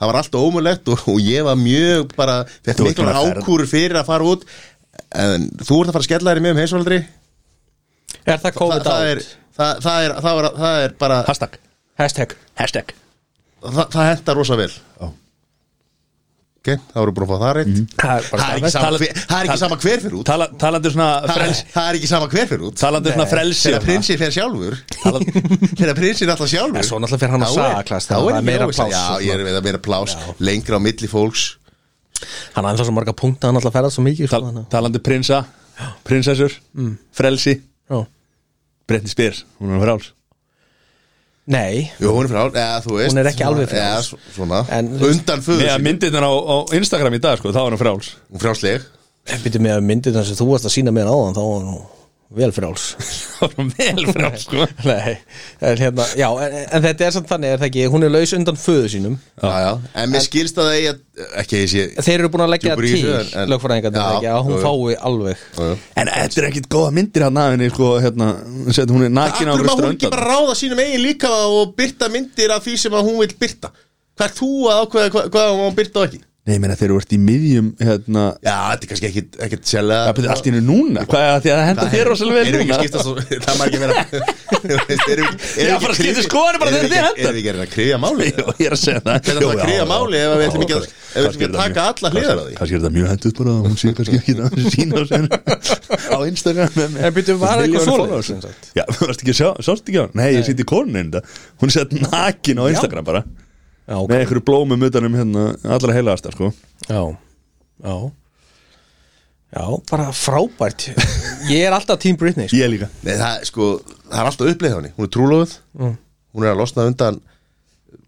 A: það var allt ómulegt og, og ég var mjög bara, fekk
B: Þú ert
A: miklar
B: bara ferð.
A: ákúrur fyrir að fara út en þú ert að fara að skella þér í mjög um heimsvaldri
C: er það
A: það,
C: COVID
A: það,
C: out?
A: er, það, það, er, það, er, það er bara það,
B: Hashtag
C: hashtag
B: Hashtag
A: það hentar rosa vel
B: Já. Mhm.
A: ok, það voru búin að fá það reitt
C: það er
A: það
C: bara
A: er ekki sama
B: Tala-
A: hver- það er ekki
B: tala-
A: sama hver fyrir út
B: Tala, Talandi svona
A: það er,
B: frelsi
A: það er ekki sama hver fyrir út
B: Talandi svona frelsi
A: þegar prinsinn fer sjálfur
B: Talandi
A: <laughs> þegar prinsinn alltaf sjálfur
C: Ja, svo náttúrulega fer hann á
A: þá er-
C: sagaklass,
A: þá
C: það
A: er
C: er
A: ekki
C: meira
A: óvissa.
C: pláss sko. og
A: já, ég er með að meira plás lengra á milli fólks
C: hann er alltaf svo marga punkt hann alltaf ferðast svo mikið sko,
B: tal,
C: þannig að-
B: Talandi prinsa Mm. Prinsessur Frelsi
C: Já.
B: Bretni Spears Hún er fráls
C: Nei,
A: Jú, hún er frá, eða þú veist
C: Hún er ekki alveg frjáls.
A: Eða svo- svona,
C: En-
A: undan föður
B: Nei,
A: sín
B: myndirnar á, á Instagram í dag, sko, það var hann <laughs> fráls
A: Frjálsleg
C: byrju með að myndið þannig sem þú varst að sína mér áðan þá var nú vel fráls
B: Það var vel fráls, sko
C: <laughs> Nei, en hérna, já, en, en þetta er samt þannig er það ekki, hún er laus undan föðu sínum
A: Já, já, en mér skilst að það eigi að ekki að ég sé
C: Þeir eru búin að leggja
A: Djúpur í
C: til
A: þessu, en- en-
C: lögfræðingarnir
A: Já,
C: ekki að hún
A: jú, jú.
C: fái alveg
A: Já, já.
B: En þetta er ekkit góða myndir hann af henni, sko, hérna Sett hún er nakin á
A: Akkur
B: einhverju
A: má hún ekki
B: strönd
A: bara ráða sínum eigin líka og byrta myndir af því sem að hún vil byrta Hvað er þú að ákveða hvað, hvað hún má byrta og ekki?
B: Nei, ég meina þeir eru vart í miðjum, hérna
A: Já, þetta er kannski ekkit, ekkit
B: Það
A: sjálflega
B: byrði allt í hennu núna Hvað er það því að það henda þér rosalega vel
A: Erum við ekki
B: núna?
A: að skipta svo, <laughs> það má ekki vera Þú veist, erum við- erum
B: Já,
A: við
B: bara
A: ekki
B: skipta
A: kryfja-
B: skoðanir bara
A: erum
B: þegar
A: við ekki- Erum við
B: þið hentar.
A: ekki að reyna að kryfja málið?
B: <laughs> Jó, ég er að segja það
A: Hvernig er það að kryfja máli ef við ætlum ekki að- ef við ætlum ekki að taka alla hliðar á því?
B: Kanski er þetta mjög henduð bara að Hún sé kannski ekki það að sína á
A: <laughs>
B: sér Á Instagram með- með-
C: En byrju, var
B: með
C: eitthvað
B: milljónir
C: svoleiðis,
B: followers.
C: sem sagt?
B: Já, þú varst ekki að sjá, sást ekki á hann Nei, ég sýtti konun einda Hún sett nakin á Instagram bara
C: Já, ok.
B: Með einhverju blómum utanum hérna Allra heilagastar sko
C: Já, já Já, bara frábært Ég er alltaf Team Britney sko.
B: Ég líka
A: Nei, það, sko, það er alltaf uppleið hjá henni Hún er trúlóð, hún er að losna undan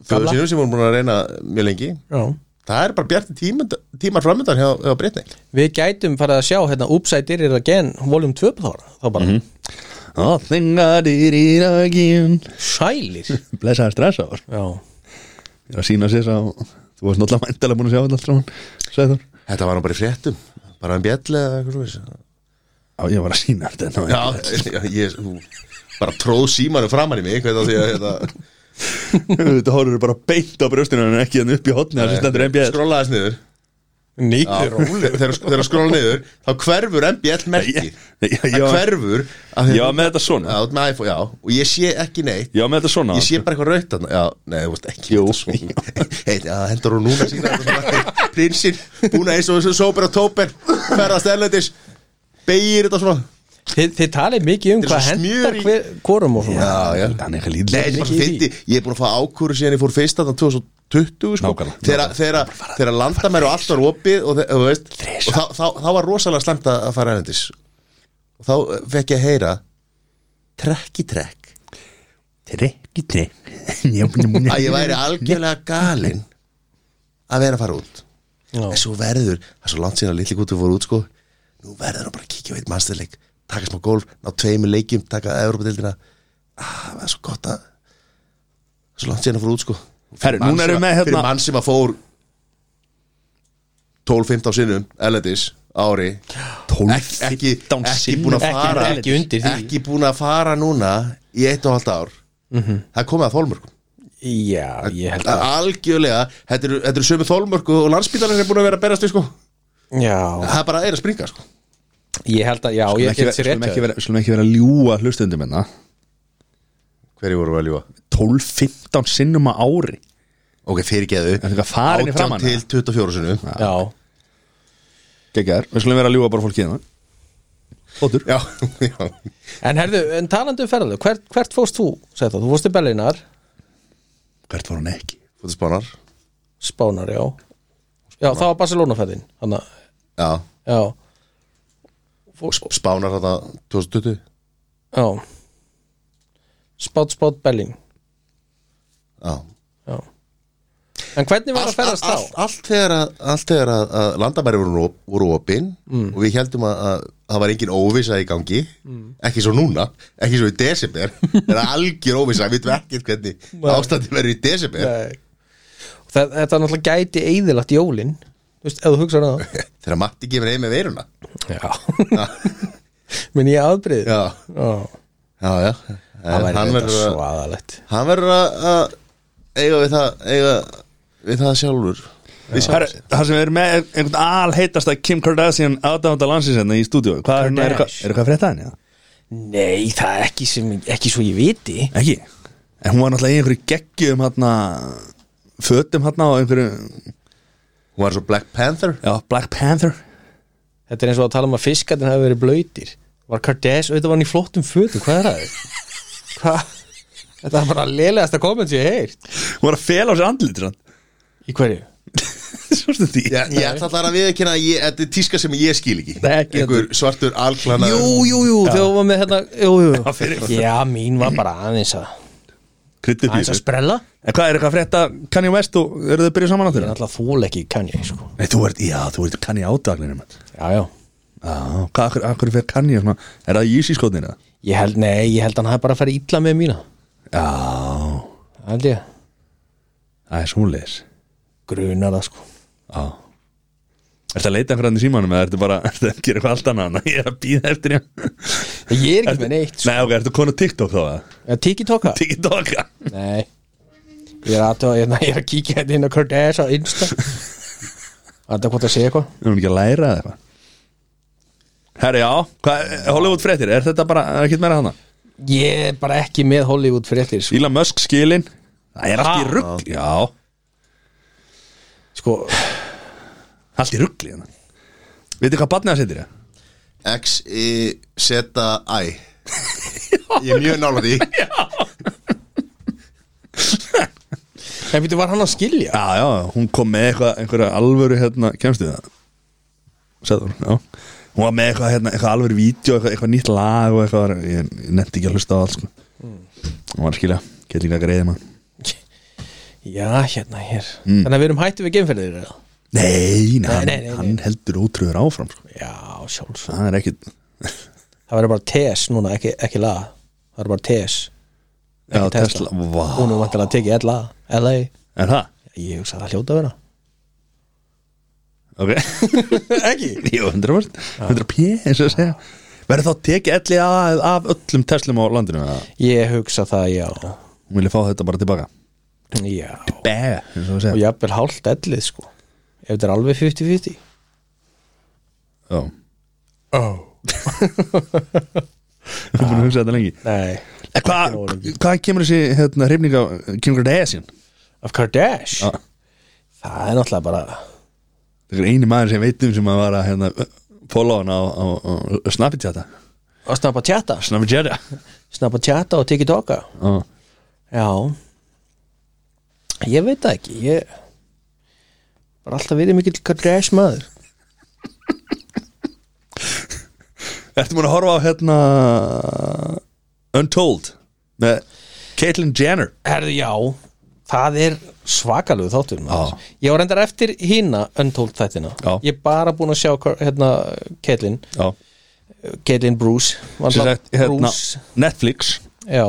A: Föður
C: Gamla.
A: sínum sem hún er búin að reyna mjög lengi
C: Já
A: Það er bara bjarti tímar, tímar framöndan hjá, hjá Britney
C: Við gætum farið að sjá hérna Upside Down Again Volume 2 þá, þá bara
A: Mhm.
B: Oh, thank God it is again
C: Sælir
B: Blessaði stressa var
C: Já
B: Ég er að sína sér sá Þú varst náttúrulega mæntilega búin að sjá þetta allt frá hann Sæður
A: Þetta var nú bara í fréttum Bara um bjalli eða eitthvað svo veist
B: Já, ég var að sína þetta hérna, Já
A: Já, <laughs> ég hún, bara tróð símanu framan í mig Hvað það því að hérna, þetta
B: <laughs> Þetta horfður bara beint á brjóstinu En ekki hann upp í hotni Það sem stendur MBS
A: Skrollaðist niður <laughs>
C: Nýttur
A: Já, Þegar þegar skrolla niður Þá hverfur MBL merki
B: Ég- Nei, ég- ég
A: Það
B: var-
A: hverfur af því að-
B: Ég var með
A: hérna.
B: þetta
A: Já,
B: svona
A: þú ert með iPhone, já Og ég sé ekki neitt
B: Ég var með þetta svona
A: Ég sé bara eitthvað raut þarna Já, nei, þú veist ekki
B: Jú.
A: <laughs> Hei, það hendur hún núna sína þetta svona. Prinsinn, búna eins og þessu sóper og tóper Ferðast erlendis Beigir þetta svona
C: Þið, þið talið mikið um
A: Þetta er
C: hvað
A: svo
C: hendar
A: smjör í-
C: hver, hvorum og svona
A: Já, já
B: Hann er eitthvað
A: Nei, þetta er
B: lítið
A: bara fyndi Ég er búin að fá ákúru síðan ég fór fyrst þarna 2020 sko.
B: Nákvæmlega,
A: Þegar- Þegar þegar landamæri og allt var opið og, þe- og, þú veist,
B: Þrisvar.
A: og þá, þá, þá var rosalega slemt að að fara erlendis Og þá eh, fekk ég að heyra Trekk í trekk
B: Trekki <laughs> trek Að
A: að ég
B: <laughs>
A: væri algjörlega galinn að vera að fara út
C: Já.
A: en svo verður, það er svo langt síðan að litli kútu fór út sko, nú verður hann bara að kíkja á eitt mannstæðleik, taka smá golf ná tveimur leikjum, taka Evropadeildina ah, það er svo gott að svo langt síðan að fór út sko
B: Herru, núna
A: Mann sem
B: erum við
A: að-
B: með, hérna-
A: fyrir mann sem að fór 12-15 sinnum erlendis á ári ekki, ekki, ekki búin að
C: Ekki-
A: fara
C: ekki undir því.
A: ekki búin að fara núna í eitt og halvt ár það er komið að þólmörgum
C: Já, Mhm. ég held að
A: algjörlega, þetta eru, þetta eru sömu þólmörku og landsbílarnir sem er búin að vera að berast við sko
C: Já,
A: það er bara er að springa sko
C: ég held að Já,
B: Við
C: ég get sér
B: skulum
C: rétt
B: ekki
C: hjá þér.
B: vera- skulum ekki vera að hérna. ljúa hlustundum enna
A: hverju voru að ljúa?
B: 12-15 sinnum á ári
A: ok, fyrirgeðu
B: Það er eitthvað farin í framan,
A: til 24 sinum
C: Já,
B: Gekkaður, við skulum vera að ljúa bara fólki hérna Ótur
A: já, já. <laughs>
C: en herðu, en talandi um ferðalög hvert, hvert fórst þú, segð það, þú fórst í Berlínar
B: Hvert var hann ekki?
A: fóttu spánar
C: Spánar, já Já, það var Barcelona ferðin Hanna,
A: já,
C: já
A: og sp- spánar þetta 2020
C: Já Spát, spát, Berlín
A: já
C: Já En hvernig var að ferðast
A: allt,
C: þá?
A: allt þegar að, allt þegar að, að landamæri voru, op, voru opin
C: Mm.
A: og við heldum að, að það var engin óvisa í gangi
C: Mm.
A: ekki svo núna, ekki svo í
C: <laughs>
A: desember það er algjör óvisa, við veitum ekkert hvernig ástandi verður í desember
C: Nei. Það, þetta náttúrulega gæti eðilagt jólin Þú veist, ef þú hugsar um það
A: þegar Matti gefur heim með veiruna
C: <laughs> Já Menn ég afbrið
A: já,
C: Já
A: já, já.
C: Það
A: En
C: væri
A: hann
C: þetta
A: verður að,
C: svo aðalegt
A: hann verður að að eiga við það eiga við það sjálfur við
B: Herru,
A: sjálfur
B: það sem við erum með er einhvern alheitasta Kim Kardashian aðdánda landsins hérna í stúdíu Hvað er hérna, er eitthvað- er eitthvað að frétta henni? eða?
C: Nei, það er ekki sem, ekki svo ég viti
B: Ekki En hún var náttúrulega í einhverju geggjum hérna Fötum hérna og einhverju
A: hún var svo Black Panther
B: Já, Black Panther
C: Þetta er eins og að tala um að fiskarnir hafi verið blöytir Var Kardashian, auðvitað var hann í flottum fötum Hvað er það? Hvað? Þetta er bara lélegasta komment sem ég heirt
B: Hún var að fela á sér andlítur <laughs> hann
C: Í hverju?
B: Svo stundi
A: Já, ég ætla allar að viðkynna að ég, þetta er tíska sem ég skil ekki
B: Nei, ekki
A: einhver svartur alklana
C: Jú, jú, jú, þegar hún var með hérna Jú, jú,
B: fyrir-
C: já, mín var bara aðeins að
B: kryddið
C: aðeins
B: písu
C: að sprella
B: En hvað er eitthvað að frétta Kanye West og eru þau byrjuð saman á
C: Ég er
B: þeirra?
C: alltaf þól ekki Kanye sko.
B: Nei, þú ert, já, þú ert Kanye ádaglinni mann
C: Já, já
B: Já, hvað, akkur, akkur fer Kanye svona Er það Yeezy skotnir eða?
C: Ég held, nei, ég held hann hafi bara að fara illa með mína
B: Já,
C: Það held ég
B: það er svoleiðis
C: Grunar það sko
B: Já Ertu að leita einhverjarn í símanum eða ertu bara <laughs> ertu að gera eitthvað allt annað Nei, Ég er að býða eftir ég
C: Ég er ekki með neitt sko.
B: Nei, ok, ertu konu TikTok þá að?
C: nei. Tiki-toka?
B: TikTok
C: Nei Ég er aðtöða, ég, ég er að kíkja hérna inn á Kardashian á Insta Þetta er hvort að segja eitthvað
B: Við erum ekki að læra eða eitthvað Herri, já, hvað, Hollywood fréttir, er þetta bara, er ekkert meira hana?
C: Ég er bara ekki með Hollywood fréttir sko.
B: Elon Musk skilin Það er allt í rugg Já,
C: sko,
B: allt í rugg Veitir hvað barnið það setir ég?
A: X, Y, Z, <laughs> I Ég er mjög nála því
C: En býttu, var hann að skilja?
B: Já, já, hún kom með eitthvað, einhverja alvöru hérna, kemstu það? Sæður, já Hún var með eitthvað, hérna, eitthvað alvöru vídeo, eitthvað, eitthvað nýtt lag og eitthvað, var- ég, ég nefndi ekki að hlusta á allt sko. Hún var að skilja, get líka að greiði maður
C: Já, hérna, hér Þannig að við erum hættu við geimferðir eða?
B: Nei, nei, hann,
C: nei, nei, nei.
B: hann heldur ótrúður áfram sko.
C: Já, sjálfs
B: Það er ekkit
C: Það verður bara TS núna, ekki, ekki laga Það verður bara TS
B: Já,
C: Tesla.
B: Tesla, vá
C: Hún er vantilega að tekið LA, LA
B: Er það?
C: Ég hugsa að það hljóta að vera
B: Ok
C: <laughs> Ekki?
B: Jú, 100% 100 p, eins og að segja Verður þá tekið elli af, af öllum Teslum á landinu eða?
C: Ég hugsa það, já
B: Hún vilja fá þetta bara tilbaka
C: Já
B: Bæ, eins og að
C: Og
B: segja
C: jafnvel hálft ellið, sko Ef þetta er alveg 50-50
B: Já Oh Þú búin að hugsa þetta lengi
C: Nei
B: En Hvað
C: nógu lengi.
B: hva kemur þessi hérna, hrifning á Kemur þetta eða sín?
C: Of Kardashian
B: Já.
C: Það er náttúrulega bara
B: Það er eini maður sem veitum sem að var að hérna, Póla hann á, á, á Snapchat
C: Að snappa tjata
B: Snapchat
C: Snappa tjata og tekið toka
B: Já
C: Já Ég veit það ekki Ég Bara alltaf verið mikill Kardashian maður
B: Ertu múin að horfa á hérna Untold með Caitlyn Jenner
C: Herðu, já Það er svakalegu þáttur maður.
B: Já.
C: Ég var reyndar eftir hína Untold þættina
B: Já.
C: Ég er bara búin að sjá hvar- hérna, Caitlyn
B: Já
C: Caitlyn Bruce Var
B: Sem
C: það
B: sagt, hérna,
C: Bruce
B: Netflix
C: Já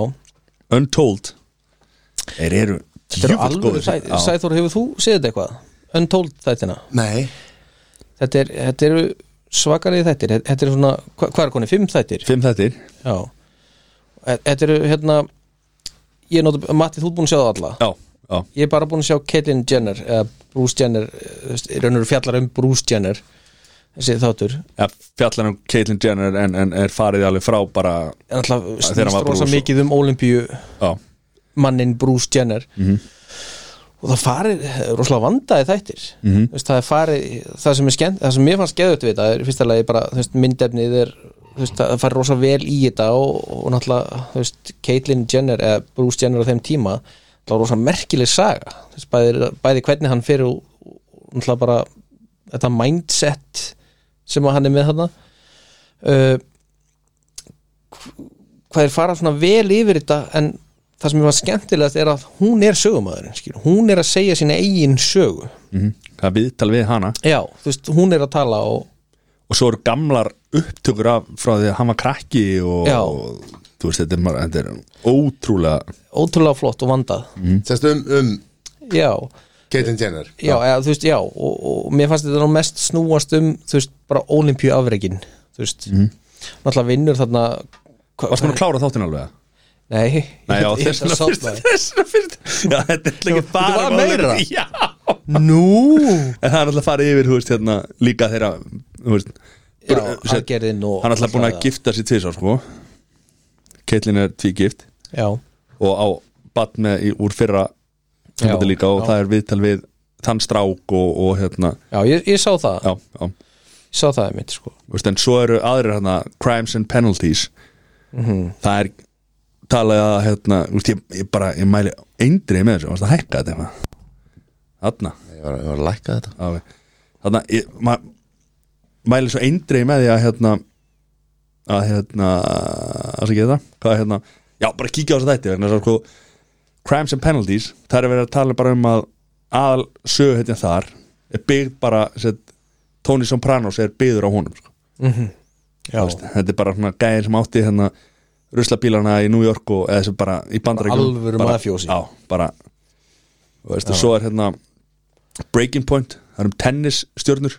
B: Untold Þeir eru
C: Þetta er
B: djöfull
C: alveg
B: góðir.
C: sæð,
B: Já.
C: Sæþór, hefur þú séð þetta eitthvað? Untold þættina
A: Nei
C: Þetta, er, þetta eru svakalegi þættir Þetta- Þetta eru svona, hva- hvað er koni? Fimm þættir?
B: Fimm þættir
C: Já E- Þetta eru hérna Ég er nota, Matti, þú er búin að sjá það alla
B: Já, já,
C: Ég er bara búin að sjá Caitlyn Jenner eða Bruce Jenner, eh, raunur fjallar um Bruce Jenner þessi þáttur
B: ja, fjallar um Caitlyn Jenner en, en er farið alveg frá bara
C: en
B: þegar
C: alltaf
B: hann
C: snýst
B: var
C: rosa
B: Bruce.
C: mikið um Olympíu
B: Já,
C: mannin Bruce Jenner og það farir rosalega vandaði þættir -hmm. Þess, það er farið, það sem er skemmt það sem mér fannst geðut við þetta er fyrsta lagi bara þú veist, myndefnið er þú veist, það farir rosa vel í þetta og, og náttúrulega þú veist, Caitlyn Jenner eða Bruce Jenner á þeim tíma það var rosa merkileg saga Þú veist, bæði, bæði hvernig hann fyrir og og náttúrulega bara þetta mindset sem að hann er með þarna uh, hvað er fara svona vel yfir þetta en það sem ég var skemmtilegast er að hún er sögumæðurinn, skil, hún er að segja sína eigin sögu,
B: mm það viðtal við hana
C: já, þú veist, hún er að tala og,
B: Og svo eru gamlar upptökur af frá því að hann var krakki og,
C: Já.
B: og þú veist, þetta er, bara- þetta er ótrúlega
C: ótrúlega flott og vandað
B: Mm.
A: Sérst um, um
C: já,
A: Caitlyn Jenner
C: já, eða, þú veist, já og, og mér fannst þetta nú mest snúast um þú veist, bara olimpíu afreikin þú veist,
B: Mm.
C: náttúrulega vinnur þarna hva-
B: Varst maður að klára þáttin alveg? eða?
C: nei, ég
B: Nei, já,
C: held- <laughs> ég held
B: þessna
C: að
B: fyrst
C: sofnaði.
B: Þessna fyrst Já, þetta er ekki
C: Þetta
B: bara
C: var
B: um
C: meira.
B: Hollywood. <laughs> Já
C: nú
B: En það er alltaf farið yfir, þú veist, hérna, líka þeirra, þú veist
C: Já,
B: br- sem-
C: aðgerðin og-
B: Hann er alltaf búin að
C: það.
B: gifta sér tvisar, sko Caitlyn er tví gift
C: já,
B: og á bat með í, úr fyrra
C: Já,
B: sambandi líka og
C: já.
B: það er viðtal við þann strák og, og hérna,
C: já, ég, ég sá það
B: já, já þú
C: ég sá það mitt, sko
B: veist, En svo eru aðrir hérna, crimes and penalties -hmm. Það er talað að, hérna, þú veist, ég, ég bara, ég mæli eindrið með þessu, varst að hækka þetta eitthvað Þarna
A: Ég var, ég var að lækka þetta
B: þannig að maður mæli svo eindreið með því að hérna að hérna að það hvað er hérna, já bara kíkja á þess að þetta vegna þess að sko Crimes and Penalties það er verið að tala bara um að aðal söguhetjan þar er byggð bara set, Tony Sopranos er byggður á honum sko.
C: Já,
B: Veist, þetta er bara svona gæðin sem átti hérna ruslabílana í New York og eða sem bara í bandarækjum
C: Alvöru mafjósi.
B: Já, bara og veist, og svo er hérna Breaking Point, það er um tennisstjörnur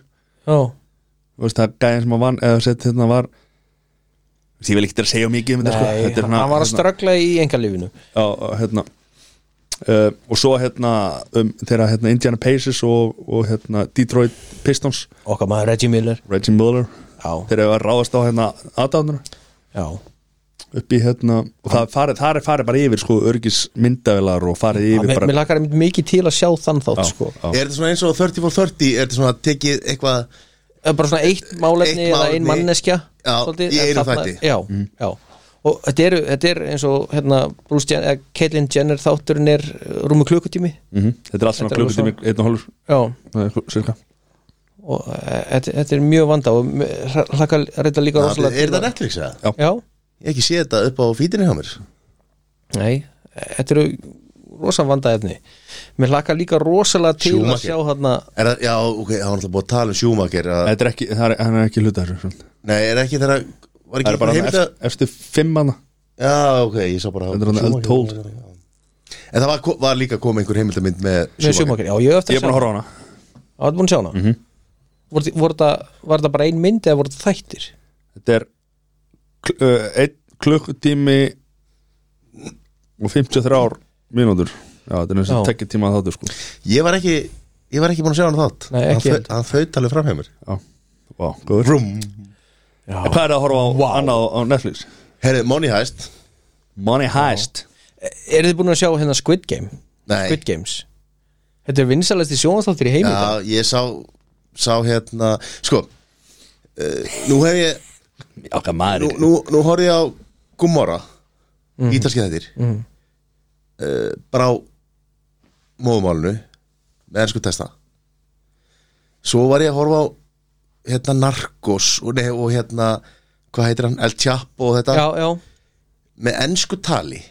C: já,
B: Þú veist, það er gæðin sem að vann eða sett hérna var Þú veist, ég vil ekki að segja mikið um
C: nei,
B: þetta sko þetta er
C: hann, hann var að ströggla í engalífinu
B: já, og hérna uh, og svo hérna um, þeirra hérna Indiana Pacers og, og hérna Detroit Pistons
C: Okkar maður Reggie Miller
B: Reggie Miller,
C: Já,
B: þeirra var ráðast á hérna aðdánur
C: já,
B: upp í hérna og það er farið, það er farið bara yfir sko örgis myndavelar og farið yfir
C: mér,
B: bara
C: mér lakar einmitt mikið til að sjá þann þátt
B: já,
C: sko
B: já.
A: Er þetta svona eins og 30 for 30 Er þetta svona að tekið eitthvað
C: Það er bara svona eitt málefni
A: Eitt
C: eða
A: málefni.
C: ein manneskja
A: Já, í
C: svolítið, en
A: einum
C: þarna-
A: þætti.
C: já, já. og þetta er, þetta er eins og hérna, Bruce Jenner, eða Caitlyn Jenner þátturinn er uh, rúmu klukkutími
B: mhm, þetta er allt
C: Þetta
B: svona
C: er
B: klukkutími einn og hálfur
C: já,
B: það er cirka.
C: og uh, þetta, þetta er mjög vanda og hlaka reynda líka
A: Na,
C: rosalega
A: Er
C: til
A: þetta
C: að-
A: Netflix eða?
C: Já,
A: Ég hef ekki sé þetta upp á fítinni hjá mér
C: nei, eh, þetta eru rosa vandaefni mér hlaka líka rosalega til að
A: Schumacher.
C: sjá hérna
A: er það, Já, ok, það var alltaf búið að tala um Schumacher að,
B: þetta er ekki, það er, hann er ekki hluta þessu svona.
A: Nei, er ekki þeirra Var
B: það
A: ekki
B: er bara
A: heimild að
B: eftir, eftir fimm hana
A: Já, ok, ég sá bara
B: Þetta er hann
A: Schumacher.
B: Untold.
A: En það var, ko- var líka komið einhver heimildamind með
C: með Schumacher, já, ég hef
B: ég
C: eftir
B: er búin að horfa á hana
C: Já, þetta búin að sjá hana mm -hmm. voru, voru það, Var það bara ein mynd eða voru það þættir?
B: þetta er kl- uh, einn klukkutími og 53 mínútur já, þetta er eins og
C: Já.
B: tekja tíma að þáttu sko
A: Ég var ekki Ég var ekki búin að sjá hann þátt
C: Nei, ekki
A: Hann,
C: heldur.
A: þau, hann þaut alveg fram hjá mér
B: já, vá, góður
A: Rúm
C: Já.
B: En hvað er það að horfa á annað á- á Netflix?
A: Herri, Money Heist
B: Money Heist
C: Er þið búin að sjá hérna Squid Game?
A: Nei.
C: Squid Games Þetta er vinsalæsti sjónastáttir í heimi ja.
A: Já, ég sá Sá hérna Sko uh, Nú hef ég
B: já, hvað maður
A: Nú,
B: er-
A: nú, nú horfði ég á Gumora mm. Ítalski þettir mm. uh, Bara á Móðumálinu Með ennsku testa Svo var ég að horfa á Hérna Narcos og, nei, og hérna Hvað heitir hann? El Chapo og þetta
C: já, já,
A: Með ennsku tali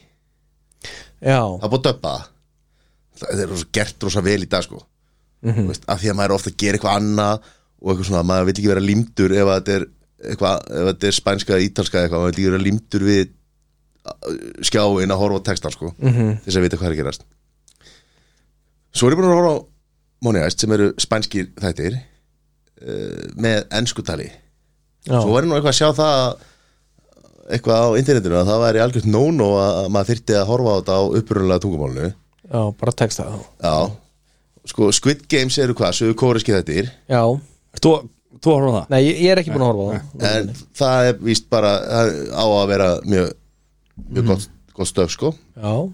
C: já
A: það er búið að döppa það það er rosa, gert rosa vel í dag sko þú veist, af því að maður er ofta að gera eitthvað annað og eitthvað svona, maður vil ekki vera límdur ef að þetta er, eitthvað, ef þetta er spænska eða ítalska eða eitthvað, maður vil ekki vera límdur við uh, skjáin að horfa á textan sko, -hmm. þess að vita hvað er að gerast svo er ég búin að horfa á Moniast sem eru spænskir þættir uh, með ennskutali
C: Já.
A: svo var ég nú eitthvað að sjá það að- eitthvað á internetinu að það væri algjört nóno að maður þyrfti að horfa á þetta á upprunalega tungumálinu
C: já, bara texta það
A: Já Sko, Squid Games eru hvað, sögur kóriski þettir
C: Já,
B: Ert Þú þú að horfa á það?
C: nei, ég, ég er ekki búin að horfa á það
A: En það er víst bara það á að vera mjög mjög gott,
C: Mhm.
A: gott stöf, sko
C: Já,
B: Hvað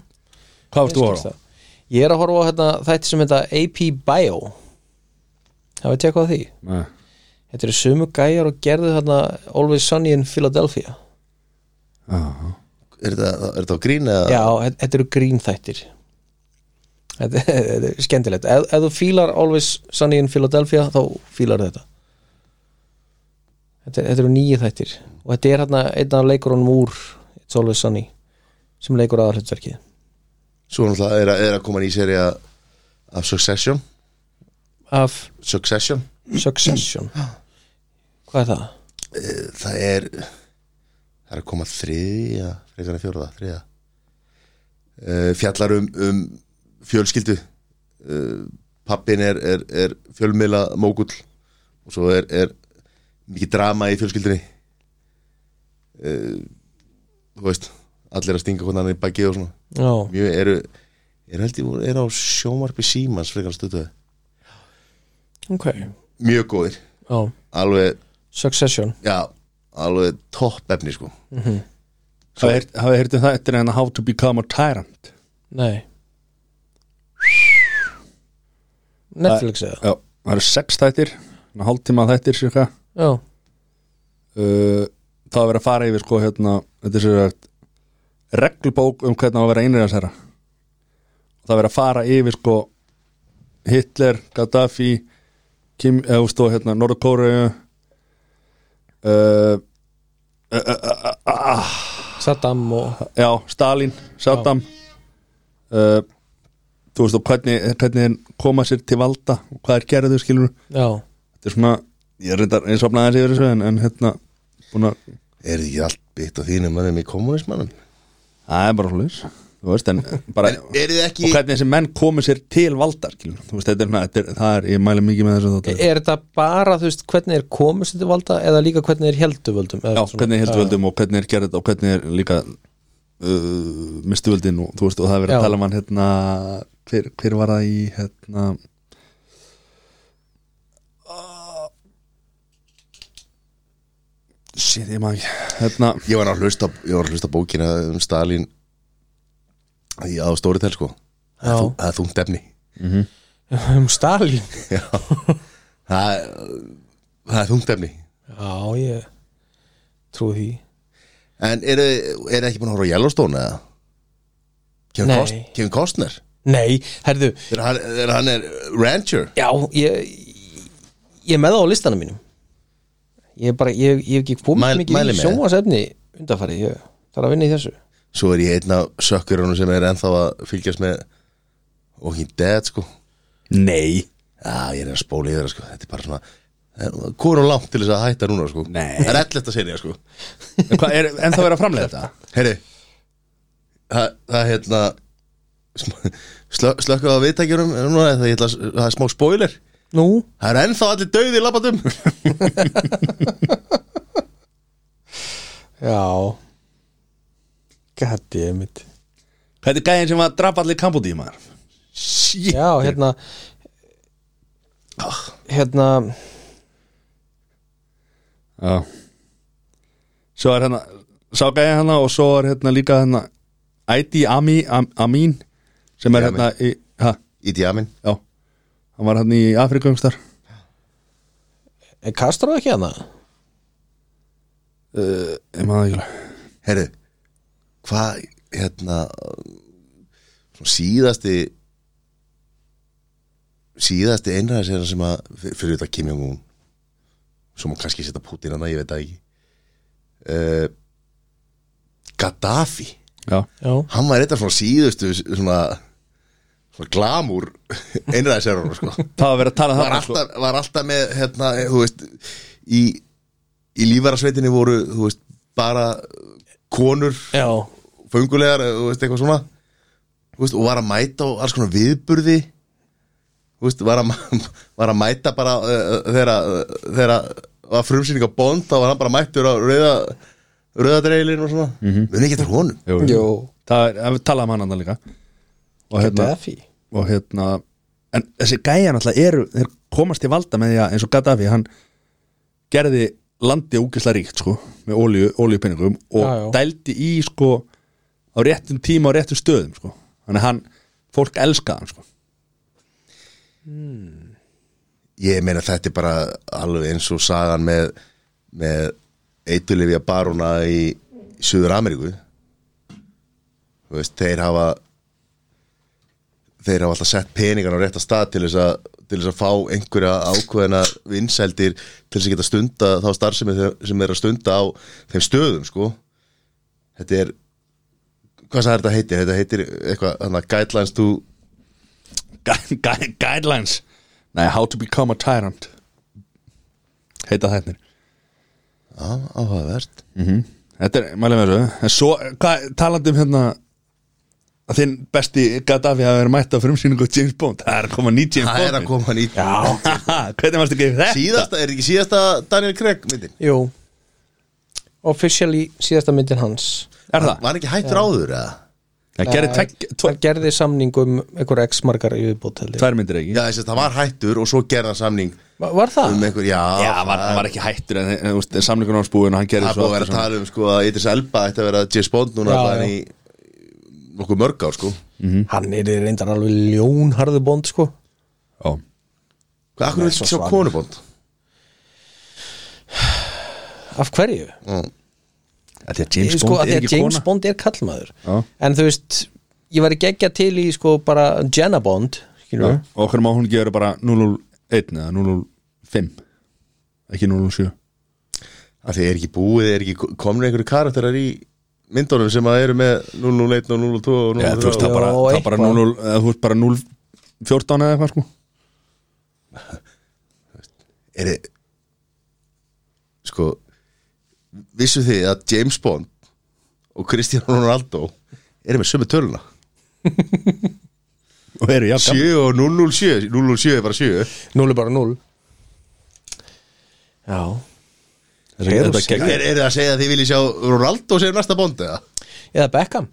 B: varst
C: ég
B: þú að
C: skilst
B: horfa á?
C: það Ég er að horfa á hérna, þætti sem þetta AP Bio Það veit ég hvað því
B: Nei.
C: Þetta eru sömu gæjar og gerðu hérna Always Sunny in Philadelphia
B: Já.
A: Er þetta er þetta á grín eða?
C: Já, þe- þetta eru grínþættir Þetta <laughs> þetta er skemmtilegt Ef, ef þú fílar Always Sunny in Philadelphia þá fílar þetta Þetta, er- þetta eru nýju þættir og þetta er hérna einn af leikurunum úr It's Always Sunny sem leikur aðalhutverkið
A: Svo náttúrulega er, að- er að koma í seri af Succession
C: af
A: Succession
C: Succession Hvað er það?
A: Eh, Það er það er að koma þriðja frekar en fjórða, þriðja Eh, Fjallar um, um fjölskyldu Eh, Pappin er, er, er fjölmiðla mógull og svo er, er mikið drama í fjölskyldunni uh, þú veist allir að stinga hvernig hann í baki og svona
C: Já,
A: mjög eru er held ég voru- eru á sjómarpi símans frekar stöðu
C: ok Já,
A: mjög góðir, alveg
C: Succession
A: já, alveg topp efni sko
B: Hafið heyrt- hafið heyrt um það eftir en How to Become a Tyrant
C: Nei Netflix eða?
B: Já, það eru sex þættir svona hálftíma þættir cirka
C: Já,
B: uh, Það er verið að fara yfir sko hérna þetta er sér sagt reglubók um hvernig á að vera einrið að særa Það er verið að fara yfir sko Hitler, Gaddafi Kim, eða þú stóð hérna Norðkóru uh, uh, uh, uh, uh,
C: Saddam og
B: Já, Stalin, Saddam uh, þú veist og hvernig, hvernig þeir koma sér til valda og hvað er gerðu skilur
C: já,
B: þetta er svona, ég er reyndar eins og afnaði þessi yfir þessu en, en hérna búin að
A: Er þið ekki allt byggt á þínum mannum í kommunismannum?
B: það er bara hlulis þú veist en bara
A: Er þið ekki
B: og hvernig þessi menn komi sér til valda skilur þú veist þetta er, svona- þetta er, það er ég mæli mikið með þessu þáttu
C: er þetta bara þú veist hvernig er komist til valda eða líka hvernig er heldu völdum
B: Já, hvernig heldur völdum og hvernig er gerðið og hvernig er líka uh, mistu völdin og þú veist og það er verið
C: Já.
B: að tala um hann hérna hver, hver var það í hérna Ah. Shit, ég maður ekki hérna,
A: Ég var að hlusta, ég var að hlusta á bókina um Stalin í á Storytel sko
C: Já.
A: Þú- Það er þungt efni <laughs>
C: <laughs> um Stalin
A: Já Það er, það er þungt efni
C: já, ég trúi því
A: En eru er ekki búin að horfa á Yellowstone eða? Kevin,
C: Nei.
A: Kost, Kevin Costner
C: nei, herðu,
A: er hann, er hann er rancher
C: já, ég ég er með það á listanum mínum ég er bara, ég, ég hef ekki komið
A: Mæl- mæli
C: mikið í
A: með.
C: sjónvasefni undanfæri, ég þarf að vinna í þessu
A: Svo er ég einn af sökkurunum sem er ennþá að fylgjast með Walking Dead sko
B: Nei
A: Já, ég er að spóla yfir það sko Þetta er bara svona Hvor er langt til þess að hætta núna sko
B: Nei.
A: Það er ellert að segja sko
B: En, hvað, er, en það verið að framlega þetta
A: Heyri Það það er hérna sm- slö- Slökkaðu á viðtækjurum núna, það, ég ætla, að- það er smá spoiler
C: nú,
A: Það er ennþá allir dauði í labbatum
C: já gæti ég mitt
B: Hvað er gæðin sem var að drapa allir kampúti í maður Shit
C: já, hérna
A: Ah.
C: hérna,
B: Já Svo er hérna Sá gæði hérna og svo er hérna líka hérna Æti Ami, Am, Amin sem er
A: Amin.
B: hérna í, ha,
A: Í djamin
B: Já Hann var hérna í Afrikumstar
C: er Castro ekki hérna?
B: uh, Ég maður ekki alveg.
A: Heyri Hvað hérna svona Síðasti Síðasti einræðisera sem að fyr- Fyrir þetta Kim Jong-un Svo má kannski setja Putin hana, ég veit það ekki uh, Gaddafi
B: Já
C: já,
A: hann var eitthvað svona síðustu svona, svona <laughs> glamúr einræðisjárunum sko
B: <laughs> Það var verið að tala
A: var
B: þarna, sko.
A: alltaf, var alltaf með hérna, þú veist í, í lífvarasveitinni voru þú veist, bara konur
C: já
A: föngulegar, þú veist, eitthvað svona þú veist, og var að mæta á alls konar viðburði þú veist, var að, ma- <laughs> var að mæta bara uh, þegar uh, þegar var frumsýning á Bond þá var hann bara mættur á rauða rauðadreilin og svona, mm -hmm. ekki þetta honum
B: Jú, jú. Það er, ef við talaðum hann hann líka Og hérna
C: Gaddafi
B: Og hérna En þessi gæja náttúrulega eru Þeir komast til valda með því að eins og Gaddafi Hann gerði landi ógisla ríkt sko Með olíu, olíupinningum Og
C: Já, já.
B: dældi í sko Á réttum tíma og réttum stöðum sko Þannig að hann, fólk elska hann sko
A: ég meina þetta er bara alveg eins og sagan með með eitulifja baruna í Suður Ameríku þú veist, þeir hafa þeir hafa alltaf sett peningan á rétta stað til þess að til þess að fá einhverja ákveðina vinsældir til þess að geta stunda þá starfsemi þe- sem er að stunda á þeim stöðum sko þetta er hvað sagði þetta heitir? Þetta heitir eitthvað, þannig að guidelines to
B: Gu- gu- Guidelines Nei, How to become a tyrant Heita þetta
A: Já, áhugavert
B: Hmm? Þetta er, mælum við þessu En svo, hvað, talandi um hérna að þinn besti Gaddafi hafi verið mætt á frumsýningu James Bond, það er að koma ný James
A: það
B: Bond
A: er að koma nýtt
B: Já, <laughs> hvernig varstu ekki þetta?
A: síðasta, er ekki síðasta Daniel Craig myndin?
C: Jú Officially síðasta myndin hans
B: Er það?
A: Var ekki hættur áður eða?
B: Það gerði tvegg- tvo-
C: Hann gerði samning um einhver x margar í viðbót held ég.
B: tvær myndir ekki
A: Já, þess að það var hættur og svo gerða samning
C: Va- Var það?
A: um einhver, já,
B: Já, hann var, hann var ekki hættur en, en, en, en samlingur hans búin og hann gerði
A: það er búið að vera að
B: svona-
A: tala um sko að Idris Elba ætti að vera James Bond núna
C: Já,
A: allan
C: já.
A: í nokkuð mörg á sko
B: Mhm.
C: Hann er reyndar alveg ljónharðu bond sko
B: Já.
A: Hvað, akkur vil
C: svo
A: sjá
C: svanur.
A: konubond?
C: Af hverju?
B: Af Því að James
C: sko,
B: Bond
C: af því
B: er
C: að
B: ekki
C: James
B: kona
C: Bond er kallmaður
B: Já.
C: En þú veist Ég var ekki ekki að til í sko bara Jenna Bond skilur
B: Já,
C: við.
B: Og hvernig má hún ekki vera bara 001 eða 005 ekki 007
A: Af því er ekki búið, er ekki komnir einhverju karakterar í myndunum sem að eru með 001 og 002 og
B: Já, þú veist,
A: 003
B: það bara,
C: Já,
B: það bara
C: eitthvað.
B: 0, eða, þú veist bara 0 14 eða eitthvað sko
A: er þið sko vissu þið að James Bond og Cristiano Ronaldo eru með sömu töluna
B: og eru, já, gaman.
A: 7 og 007 007 er bara 7
C: 0 er bara 0 Já
B: Þetta er- þetta er gegn-
A: er, er það að segja að þið viljið sjá Ronaldo sem næsta Bond eða?
C: Eða Beckham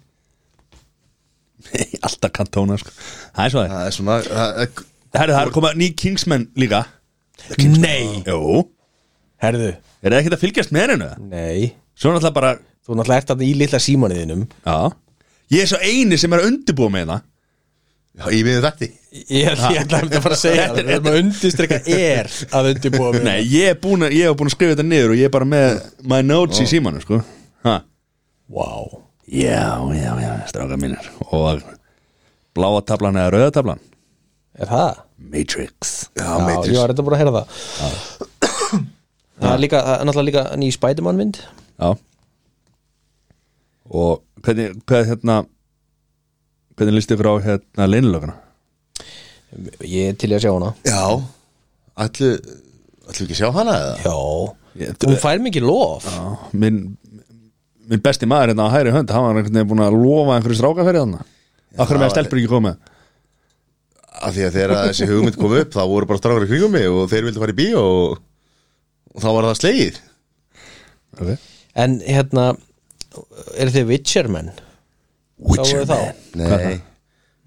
B: <laughs> alltaf kantóna sko. það er svo það er.
A: það er svona það, það-
B: Herru, það er komað ný Kingsman líka
C: Nei
B: Jú,
C: Herðu
B: er það ekkert að fylgjast með hennu?
C: Nei
B: Svo náttúrulega bara,
C: Þú náttúrulega ert að í litla símaniðinum
B: já Ég er svo eini sem er að undirbúa með það
A: já, ég við þetta
C: Ég held ég ætla að fara að segja það Við erum að undirstreka er að undirbúa mig
B: Nei, ég er búin að, ég hef búin að skrifa þetta niður og ég er bara með my notes í símanu, sko ha.
C: Vá wow.
B: Já, já, já, stráka mínir Og bláa taflan eða rauða taflan
C: Er það?
B: Matrix
A: já,
C: Já,
A: meitis
C: ég var þetta bara að heyra það Það er líka, það er náttúrulega líka ný Spiderman mynd
B: Já Og hvernig, hvað hérna Hvernig líst ykkur á hérna leinlöguna?
C: Ég er til í að sjá hana
A: já, ætlu ætlu ekki að sjá hana eða?
C: Já
B: Ég-
C: Hún fær mikið lof
B: Já, minn, minn besti maður hérna á hæri hönd Hann var einhvern veginn búin að lofa einhverju stráka fyrir þarna Akkur með að stelpur ekki komið
A: af því að þegar þessi hugmynd kom upp þá voru bara strákar í kringum mig og þeir vildu fara í bíó og, og þá var það slegið
B: okay.
C: En hérna Er þið Witcher menn? Witcher menn
A: nei,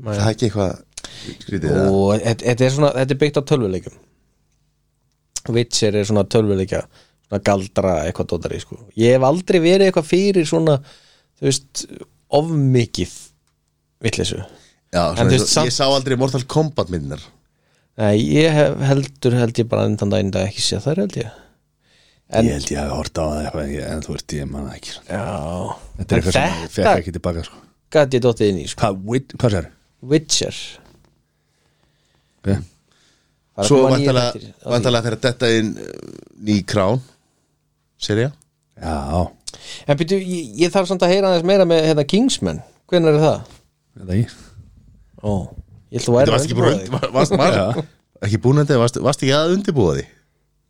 A: það er ekki eitthvað skrítið eða?
C: og þetta þetta er, svona, þetta er byggt á tölvuleikjum Witcher er svona tölvuleikja svona galdra eitthvað dótari sko. ég hef aldrei verið eitthvað fyrir svona þú veist, ofmikið vitleysu
A: já, svona,
C: En
A: eins og-
C: þú veist samt-
A: ég sá aldrei Mortal Kombat myndnar
C: Nei, ég hef heldur held ég bara enn þann daginn að ekki sé það held ég En-
B: Ég held ég hafi horta á það eitthvað ég- En þú ert ég manna ekki sko.
C: Já,
B: Þetta er eitthvað sem ég fekk
C: þetta
B: ekki tilbaka sko.
C: gat ég dóttið inn í sko.
B: Hvað, wit- hvað sér?
C: Witcher
B: Okay.
C: Það er að
A: svo
C: koma nýir þættir
A: vantalega
C: á því.
A: vantalega þegar þetta inn uh, ný krán serja
B: Já,
C: En byrju, ég, ég þarf samt að heyra aðeins meira með hérna, Kingsman, hvernig er það?
B: þetta ekki
C: Ó, ég ætla
A: þetta
C: að vera
A: varst ekki bara
C: undirbúa þig.
A: und- var- varst, varst,
B: Já.
A: ekki búin að þetta varst, varst ekki að undirbúa því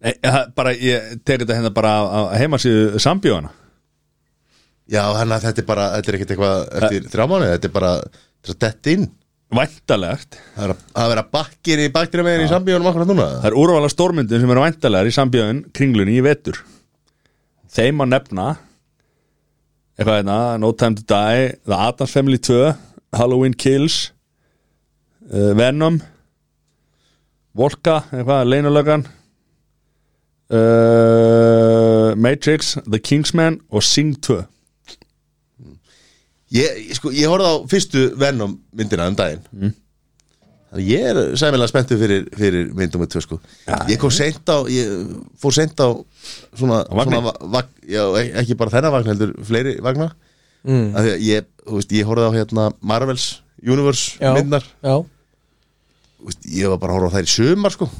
B: Nei, það- bara, ég tegir þetta hérna bara á- á heimasíðu sambjóðana
A: já þannig að þetta er bara þetta er ekkert eitthvað eftir þrjá mánuði þetta er bara þetta er að detta inn
B: Væntalegt
A: það er að, að vera bakkir í bakkir með henni í sambíunum akkurat núna
B: Það er úrvala stórmyndin sem eru væntalegar í sambjöðun kringlunni í vetur Þeim að nefna eitthvað hérna, No Time to Die The Addams Family 2 Halloween Kills uh, Venom Volka, eitthvað, Leinulögan uh, Matrix The Kingsman og Sing 2
A: ég, ég- sko, ég horfði á fyrstu Venom myndina um daginn
C: Mm.
A: þannig ég er sæmilega spenntu fyrir, fyrir myndum með tvö sko ég kom seint á ég fór seint á svona,
B: vagni?
A: svona va vag, já, ek- ekki bara þennan vagn heldur fleiri vagna
C: Mm.
A: af því að ég, þú veist, ég horfði á hérna Marvels Universe
C: Já.
A: myndnar
C: Já,
A: Þú veist, ég var bara að horfa á þær í sumar sko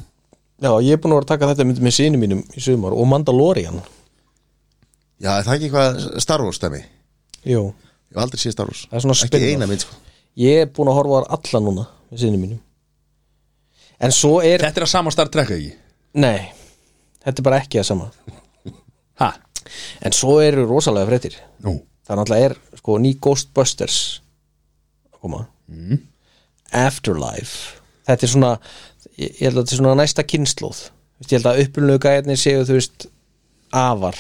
C: Já, ég er búin að vera að taka þetta mynd með sínum mínum í sumar og Mandalorian
A: já er það ekki eitthvað Star Wars dæmi ég
C: Jú,
A: hef aldrei séð Star Wars
C: Það er svona
A: ekki
C: spin-off.
A: eina mynd sko
C: ég er búin að horfa á þær alla núna með sínum mínum En svo er,
B: Þetta er að sama Star Trek ekki
C: nei Þetta er bara ekki að sama
B: Ha?
C: En svo eru rosalega fréttir
B: Nú
C: Það náttúrulega er sko ný Ghostbusters að koma Afterlife Þetta er svona, ég ég held að þetta er svona næsta kynnslóð Þú veist, Ég held að upplunlega gæðinni séu, þú veist, afar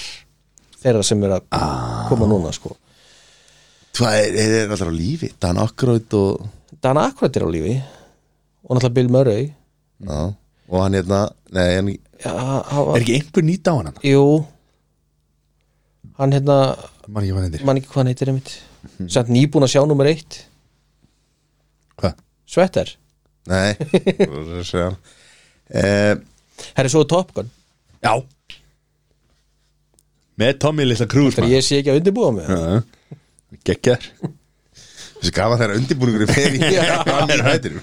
C: þeirra sem eru að koma núna sko
A: það er, er, er alltaf á lífi Dan Aykroyd og
C: Dan Akkurat er á lífi og náttúrulega Bill Murray Mm.
A: já, og hann hérna nei, hann,
C: já, hann
B: Er
C: var,
B: ekki einhver nýtt á hann?
C: Jú Hann hérna
B: Man ekki hvað hann heitir
C: man ekki hvað hann heitir einmitt
B: Mhm.
C: Samt nýbúin að sjá nummer eitt
B: Hvað?
C: Svetter
A: Nei uh,
C: Herri svo er Top Gun
B: Já Með Tommy Lilla Krús
C: Þegar ég sé ekki að undirbúa mig
B: Gekkjar
A: Þessi gaman þeirra undirbúningur fer <laughs> í hann í hættir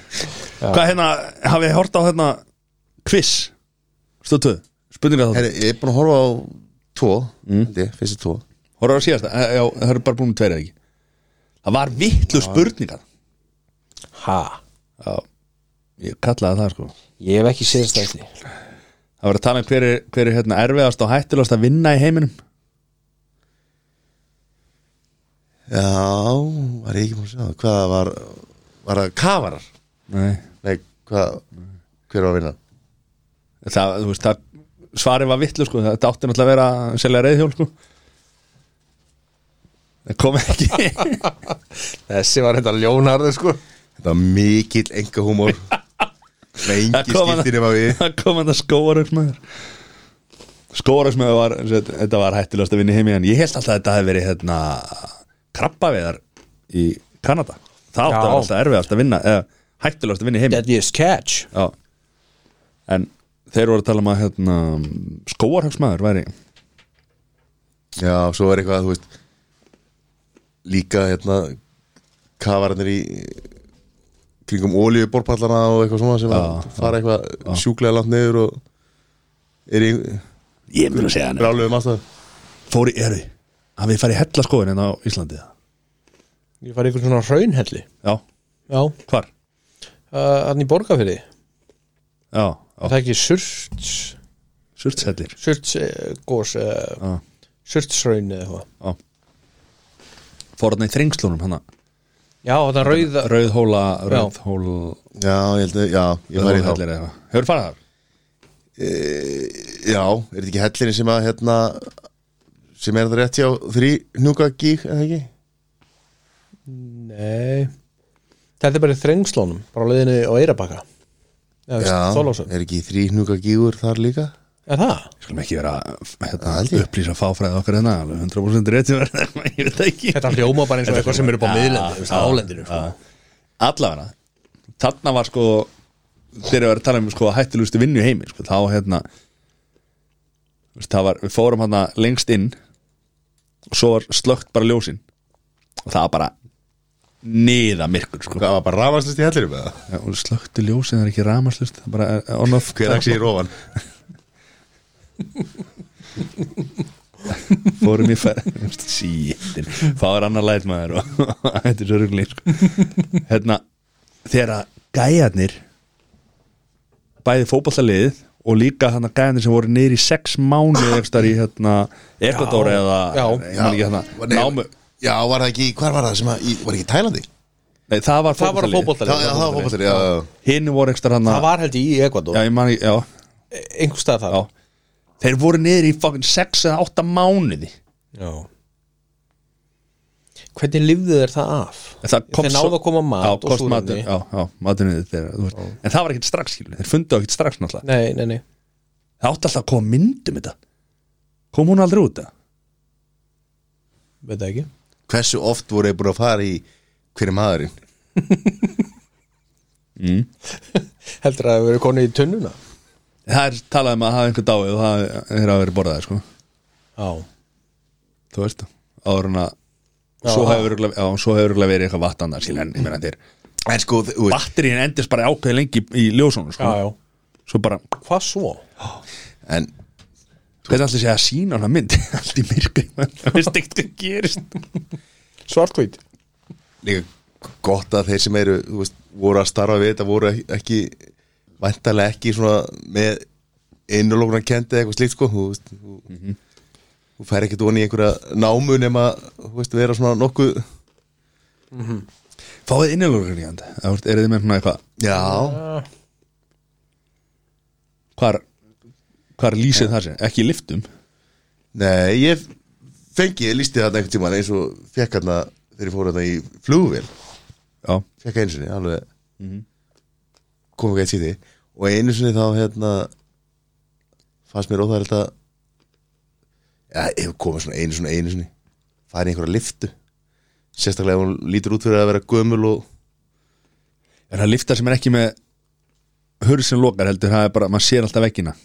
B: Hvað hérna, hafið þið hort á hérna Quiz Stöttuð, spurningar þá
A: Herri, ég er búin að horfa á tvo mm. Fyrstu tvo
B: Horfður á síðasta, Eh, já, það eru bara búin með tveir eða ekki Það var vittlu spurningar
C: ha,
B: Já, ég kallaði það sko
C: ég hef ekki séðst að því
B: Það var að tala um hver er, hver er hérna, erfiðast og hættulegast að vinna í heiminum
A: Já, var ég ekki búin að sjá það Hvað var, var það kafarar?
B: Nei
A: Nei, hvað, hver var að vinna?
B: Það, þú veist, það svarið var vittlu sko Þetta átti náttúrulega að vera að selja reyðhjól sko Það kom ekki
C: þessi var þetta ljónarður sko
A: Þetta var mikill enga <laughs> húmór Með engi
B: Það kom hann-
A: skiltir nema við
B: Það kom hann að skóarauksmæður Skóarauksmæður var sem sagt, Þetta var hættilegast að vinna í heimi En ég held alltaf að þetta hefði verið hérna, Krabbaveðar í Kanada Það átti
C: Já.
B: að vera alltaf erfiðast að vinna eða, Hættilegast að vinna í heimi
C: deadliest catch
B: Já. En þeir voru að tala um að hérna, Skóarauksmæður væri
A: Já, svo var eitthvað, þú veist Líka, hérna Kafararnir í Kringum ólíu borpallana og eitthvað svona Sem að fara eitthvað sjúklega langt niður Og er í
B: Ég vil að segja hann
A: brálöfum aðstæður
B: Fóri erfi Hann við farið hella skóin en hérna á Íslandi eða?
C: ég fari ykkur svona raunhelli
B: Já,
C: já,
B: hvar?
C: hann í borgarfyrði
B: Já,
C: það
B: já.
C: er ekki surts
B: surtsellir
C: surts uh, gós uh,
B: Já,
C: surtsraun eða eitthvað
B: já Fór hann í þringslunum hann
C: já, þetta rauða
B: Rauðhóla,
C: Já.
B: Rauðhóla
A: Já, ég held að, já, ég var í þá
B: Rauðhóla Hefur farið þar?
A: Já, er þetta ekki hellirinn sem að hérna, sem er það rétt hjá þrý núka gík, eða ekki?
C: nei þetta er bara í þrengslónum bara á leiðinu á Eirabakka
A: Já,
C: Þólásson
A: er ekki þrý núka gígur þar líka?
C: er það?
B: Skulum ekki vera að, hérna,
A: Það held ég.
B: upplýsa fáfræði okkar hérna alveg 100% rétt sem verður <laughs> ég veit það ekki
C: þetta hljóma bara eins og eitthvað sem er upp á
B: Já,
C: miðlendinu
B: já,
C: álendinu sko.
B: já. allavega þarna var sko þegar við erum að tala um sko hættilustu vinnu í heimi sko, þá hérna þú veist, það var, við fórum hérna lengst inn og svo var slögt bara ljósin og það var bara niða myrkur sko
A: Hvað var bara rafastlust í hellirum eða?
B: Já, og slögtu ljósin það er ekki ramaslust það er bara eh, on off
A: Hver aksi í rófan?
B: fórum í <laughs> ferð síðan, fáður annar læt maður og <laughs> þetta er svo rugli sko. hérna, þegar að gæjarnir bæði fótballaliðið og líka hann að gæjarnir sem voru niður í sex mánu eftir í hérna Ekvator eða
C: já.
B: ég man ekki hérna,
A: var-
B: námu,
A: já, var það ekki, hvar var það sem að, í, var ekki í Tælandi?
B: nei, það var
C: það var á
B: fótballaliðið
A: Já, já, það var fótbollir,
C: fótballtæli
A: já, já.
B: hinn voru ekstra hann
C: það
B: að
C: var held ég í Ekvador
B: já, ég man, ekki- já,
C: einhver stað það
B: já. þeir voru niður í fucking sex eða átta mánuði
C: Já Hvernig lifðu þeir það af?
B: En það kom
C: Þeir náðu að koma mat
B: já,
C: og
B: kost
C: súrefni.
B: matur, já, já, maturinn er þeirra, þú veist. en það var ekkert strax skilur, þeir fundu ekkert strax náttúrulega
C: Nei, nei, nei
B: Það átti alltaf að koma myndum þetta Kom hún aldrei út það?
C: Veit það ekki
A: Hversu oft voru þið búin að fara í hverju maðurinn?
C: Heldur að það hafi verið konu í tunnuna
B: Það er talað um að hafa einhver dáið og það er að vera borðaði sko
C: Já
B: Þú veist Áður en að
C: Já,
B: Svo
C: já.
B: hefur örugglega- já, svo hefur örugglega verið eitthvað vatn annars skilur, en ég meina, þeir-
A: En sko, þú veist,
B: Batteríin endist bara ákveði lengi í, í ljósunum
C: Já,
B: sko.
C: já
B: Svo bara,
C: Hvað svo?
A: en
B: hvernig allir sé að sína hana mynd <laughs> Allt í myrkri Það veist ekki hvað gerist
C: Svartkvít
A: líka gott að þeir sem eru, þú veist, voru að starfa við þetta voru ekki- ekki, væntalega ekki svona með innulókunar kendi eða eitthvað slíkt sko, þú veist, þú, þú fær ekkert von í einhverja námu nema, þú veist, vera svona nokkuð,
B: Fáðið innilogur í hand Er þið með svona eitthvað
A: já,
B: Hvar, hvar lýsið það sér? Ekki í liftum
A: nei, ég fengi, ég lísti þetta einhvern tímann eins og fekk hérna þegar ég fór þetta í flugvél,
B: Já,
A: fekk einu sinni, alveg,
B: Mhm.
A: kom ekki eitt síði og einu sinni þá, hérna, fannst mér óþægilegt að, ja, ef komið svona einu sinni, einu sinni, farið í einhverja liftu, sérstaklega ef hún lítur út fyrir að vera gömul og,
B: Er það lifta sem er ekki með hurð sem lokar heldur, það er bara, maður sér alltaf veggina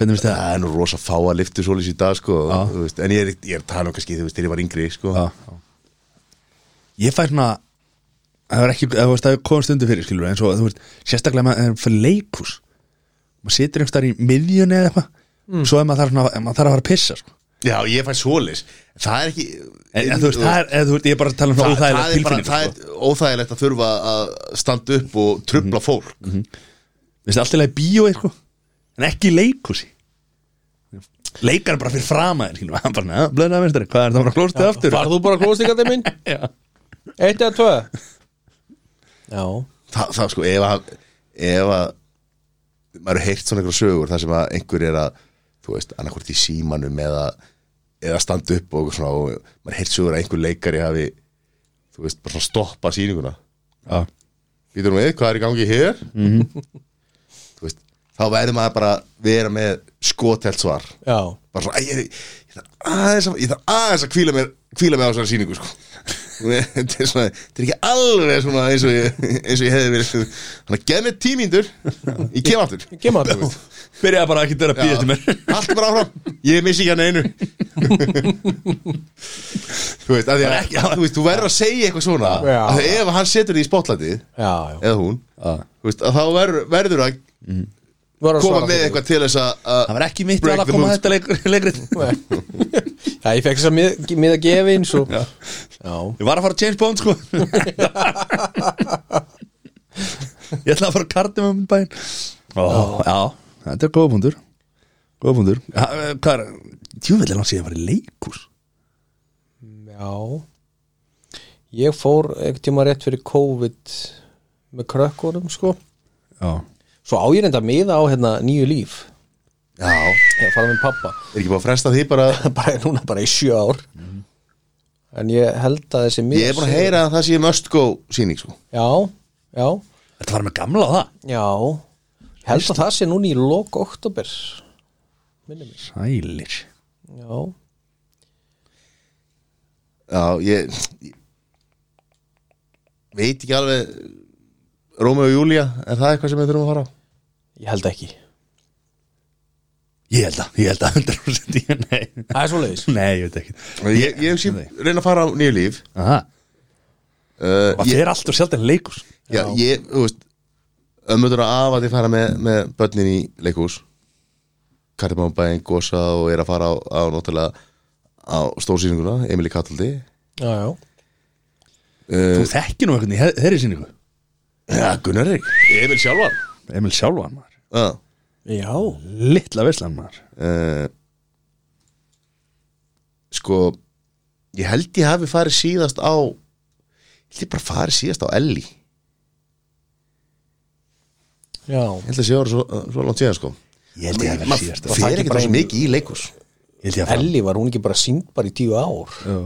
B: Hvernig finnst það?
A: það er nú rosa fá að liftu svolítið í dag sko,
B: Já.
A: þú veist, en ég er, ég er að tala um kannski þú veist, þegar ég var yngri sko.
B: Já, já. Ég fær svona það er ekki, það veist, það er komið stundu fyrir skilur eins og, þú veist, sérstaklega maður er fyrir Mm. leikus maður situr einhvers þar í miðjunni eða eitthvað, svo ef maður þarf svona ef maður þarf að fara að pissa sko.
A: Já, ég fæ svolis Það er ekki
B: En, en þú veist, það er, en, þú veist, ég er bara að tala um
A: það,
B: það
A: það,
B: óþægilega
A: er bara,
B: tilfinning
A: það
B: sko. Mhm.
A: er óþægilegt að þurfa að standa upp og trubla fólk
B: Veist, allt í lagi í bíó eitthvað En ekki í leikhúsi Leikar er bara fyrir frama þér skilur við. Hann bara, neða, blöðnaða minnstari, hvað er það bara klóstið aftur?
C: Var þú bara klóstingatið <laughs> minn?
B: Já.
C: Eitt eða tvö? Já
A: það, það sko, ef að ef að maður hefur heyrt svona einhverja sögur þar sem að einhver er að þú veist, annarkvort í símanum eða eða standa upp og svona og maður heyrt sögur að einhver leikari hafi þú veist, bara svona stoppa sýninguna
B: Já.
A: býtur við, hvað er í gangi hér -hmm. <laughs> þú veist, þá verður maður bara vera með skotelt svar
C: Já
A: bara svona, æ, ég, ég, ég þarf aðeins að, ég þarf aðeins að kvíla mér, kvíla mér á svona sýningu, sko. þetta er svona, þetta er ekki alveg svona eins og ég, eins og ég hefði verið, þannig að geð mér tímíndur, ég kem aftur.
C: Gemma þú veist
B: Byrjaði bara ekki að býða til mér
A: Allt bara áfram, ég missi ekki hann einu. þú veist, að því að,
B: Bara ekki-
A: þú veist, þú verður að segja eitthvað svona,
C: Já.
A: að því ef hann setur því í spotlandið,
C: <laughs> Já, já
A: eða hún, þú veist, að þá verður, verður að
C: Þú var að
A: koma
C: svara
A: með
C: fyrir.
A: eitthvað til þess að, að
B: Það var ekki mitt
A: Break
B: val að
A: the
B: koma
A: mood.
B: þetta leik, leikrið
C: <laughs> Já, ég fekk þess að mið, mið að gefa eins og
B: Já.
C: Já
B: Ég var að fara að James Bond sko Ég ætla að fara að kartum um bæinn Ó, Já, þetta er góða punktur Góða punktur Ja, eh, Hvað er, djúvill er langt síðan að fara í leikhús
C: Já Ég fór einhvern tíma rétt fyrir COVID með krökkunum sko
B: Já,
C: Svo á ég reynda að miða á hérna nýju líf
A: já,
C: Ég fara með pappa
A: er ekki bara að fresta því bara
C: bara, Núna bara í sjö ár En ég held að þessi miða
A: Ég er búin að heyra að það sé must go síning sko.
C: Já, já,
B: þetta var með gamla á það
C: já Ég held að það sé núna í lok oktober Minni mig
B: Sælir
C: Já,
A: Já, ég, ég veit ekki alveg Rómi og Júlía, er það eitthvað sem við þurfum að fara á?
C: ég held ekki
B: Ég held að, ég held að 100% ég, nei,
C: Það er svo leiðis
B: nei, ég veit ekki
A: Ég, ég hef síðan reyna að fara á nýju líf
B: Aha,
A: uh,
B: það
A: ég,
B: fer alltaf sjaldan í leikhús
A: já, ég, þú veist ömmutur að af að ég fara með, með börnin í leikhús Kardimámbæn, Gosa og er að fara á, á náttúrulega á stórsýninguna, Emily Kattaldi
C: Já, já
B: Þú þekkir nú einhvern í þe- þeirri sinningu
A: Já, Gunnar Erik Emil sjálfan
B: Emil sjálfan maður
A: Já
C: Já,
B: Littla veslan maður
A: Eh, sko ég held ég hafi farið síðast á ég held ég bara farið síðast á Ellie ég
C: já
A: held að sé ára svo, svo langt síðan sko
B: Ég held ég að vera síðast
A: maður fer ekki þessu mikið í leikus
B: Ég held ég að
C: Elli var hún ekki bara sínd bara í tíu ár
B: fara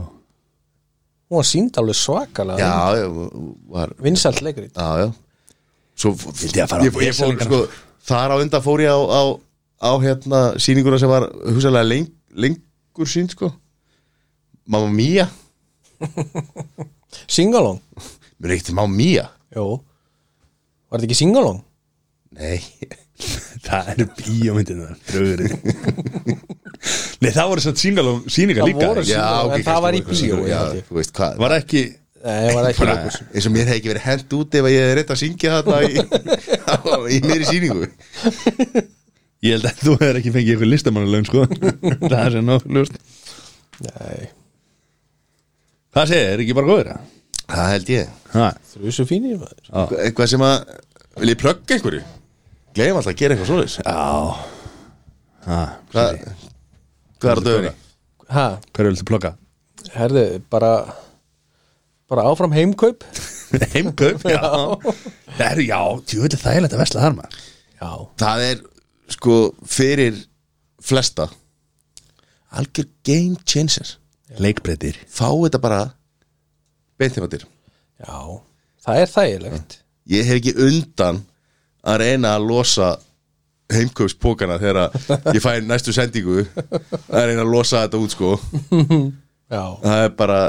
C: Hún var sínd alveg svakalega
A: já, ég var
C: Vinsælt leikrit
A: já, já svo
B: Vildi ég að fara á
A: ég, ég fór,
B: Vesalingana?
A: sko, þar á undan fór ég á, á, á hérna sýninguna sem var hugsalega leng, lengur sín sko Mamma Mia
C: Singalong
A: mér er ekkert Mamma Mia
C: Jó Var þetta ekki Singalong?
A: nei,
B: Það eru bíómyndin þar Drögurinn <laughs> Nei það voru satt singalum síningar
C: Það
B: líka
C: voru-
A: já,
C: En
A: ok, kannski
C: það var í
A: voru eitthvað sem-
C: bíó, ég
A: já,
C: held ég.
A: þú veist hvað
B: Var ekki
C: Nei, það var ekki
A: bara,
C: leikur
A: eins og mér hef ekki verið hent út ef að ég er reynd að syngja þarna í, á, í <laughs> meiri síningu
B: Ég held að þú hefur ekki fengið eitthvað listamannulegum <laughs> sko Það er sem náttúrulega
C: Nei,
B: Hvað segir, er ekki bara góður það?
A: það held ég
B: Ha,
C: þrjusu fínir maður
A: eitthvað sem að, vil ég plugga einhverju gleym alltaf að gera eitthvað svoleiðis
B: Já ha,
A: hvað hvað er á dögunni?
C: Ha,
B: Hverju viltu plokka?
C: herðu, bara bara áfram heimkaup
B: <laughs> Heimkaup, já Það eru, já, tjóðlega þægilegt að vesla þar maður
C: Já,
A: það er sko fyrir flesta algjör game changer
B: Leikbreytir
A: fá þetta bara beintimandir
C: já Það er þægilegt
A: ég hef ekki undan að reyna að losa heimkaupspókana þegar ég fæ næstu sendingu að reyna að losa þetta út sko
C: Já
A: það er bara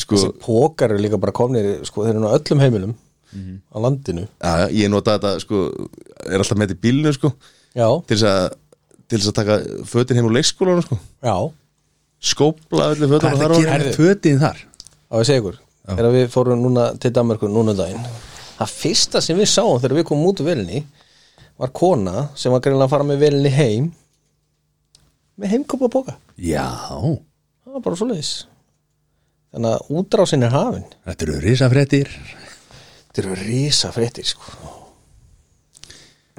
A: sko,
C: Þessi pókar eru líka bara komnir sko, þeir eru nú á öllum heimilum á landinu
A: já, ég nota þetta sko, er alltaf með þetta í bílnu sko,
C: Já,
A: til þess að til þess að taka fötin heim úr leikskólanum sko.
C: já
A: skópla öllu fötin og
B: Hvað er
A: þar
B: það að
A: ofan í.
B: gera með fötin þar?
C: á að segja ykkur þegar við fórum núna til Danmarku núna um daginn það fyrsta sem við sáum þegar við komum út úr velinni var kona sem var greinlega að fara með velinni heim með heimkopa bóka
B: Já,
C: það var bara svoleiðis þannig að útrásin er hafin
B: þetta eru risafréttir
C: þetta eru risa fréttir sko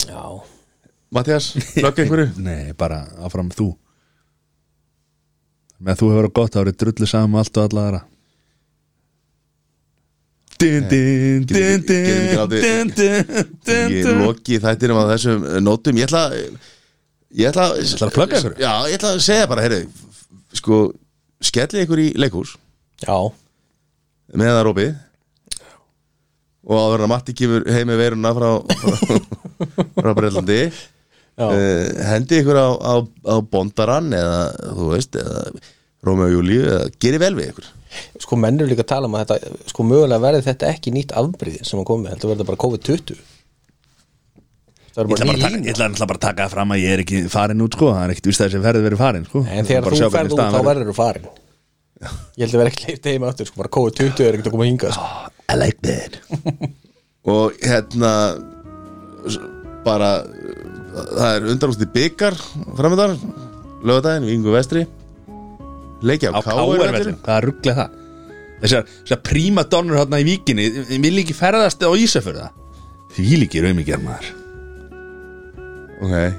C: já
A: Mattias, lögg einhverju
B: <laughs> Nei, bara áfram þú Með að þú hefur á gott árið drullu saman um allt og alla aðra Din, din, din,
A: Getum-
B: din,
A: getum ekki látið-
B: din, din, din,
A: Ég
B: din
A: loki þættinum á þessum nótum Ég ætla Ég ætla,
B: Ætlarðu að plugga einhverju?
A: Já, ég ætla að segja bara, heyrðu f- Sko, skellið ykkur í leikhús
C: já
A: með það rópið og áður en að Matti kemur heim með veiruna frá, frá, frá Breitlandi
C: Já.
A: uh, hendi ykkur á, á, á bondarann eða þú veist eða Rómi og Júlíu eða geri vel við ykkur
C: sko mennur líka að tala um að þetta sko mögulega verði þetta ekki nýtt afbriði sem að komið, heldur verður þetta bara COVID-20 það
B: Ég
C: verður
B: ætla
C: bara
B: bara að taka- ég
C: ný
B: ætla náttúrulega bara að taka það fram að ég er ekki farin út sko, það er ekkit vist að þessi ferði verið farin sko.
C: En þegar
B: Bara
C: þú
B: sjá hvernig
C: ferð út,
B: staðan
C: þá verður þú farin Ég held að vera ekki leift heima aftur, sko, bara kóðu 20 er ekkert að koma hingað sko.
B: Ah, I like that
A: og hérna s- bara uh, það er undanústi byggar framöndan lögadaginn, Vingu Vestri leikja
B: á
A: á
B: K.R.
A: K.R.
B: vellinum, hvað er rugglega það þessar, þessar príma donnur hérna í víkinni ég vil ekki ferðast á Ísafjörða því líki raumingjar maður
A: ok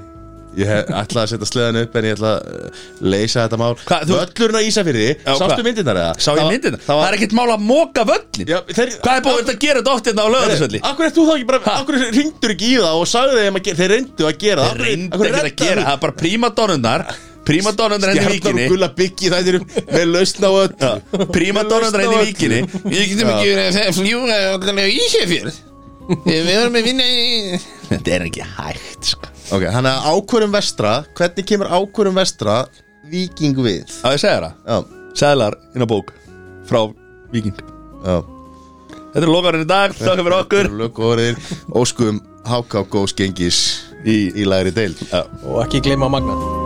A: Ég hef- ætla að setja sleðan upp en ég ætla að uh, leysa þetta mál
B: Hvað, þú-
A: Völlurinn á Ísafyrði,
B: Já,
A: sástu
B: hvað?
A: myndirnar eða?
B: sá ég
A: Það-
B: myndina,
A: Það
B: það
A: var
B: er ekkert mál að móka völlin
A: Já, þeir,
B: hvað er búin að gera þetta oft hérna á lögðarsvölli
A: Akkur eftir þú þá ekki bara, akkur ringdur ekki í það og sagði þeim að gera, þeir reyndu að gera
B: það
A: það
B: reyndi ekki að gera, það er bara príma donnurnar príma donnurnar henni í
A: Gjarnar og
B: víkinni
A: gulla byggi það er með lausna og öll
B: príma donnurnar henni í víkinni við getum
A: Já.
B: ekki verið að fljúga allavega í Ísafjörð við verðum að vinna í þetta er ekki hægt sko
A: Ok, hann er ákvörum vestra, hvernig kemur ákvörum vestra viking við?
B: að ég segja það,
A: Já,
B: seglar inn á bók frá viking
A: já
B: Þetta er lokarinn í dag, þakka fyrir okkur
A: Löggóriðir, óskum, háká góðs gengis í, í læri deil Já
C: sko, og ekki gleyma að magna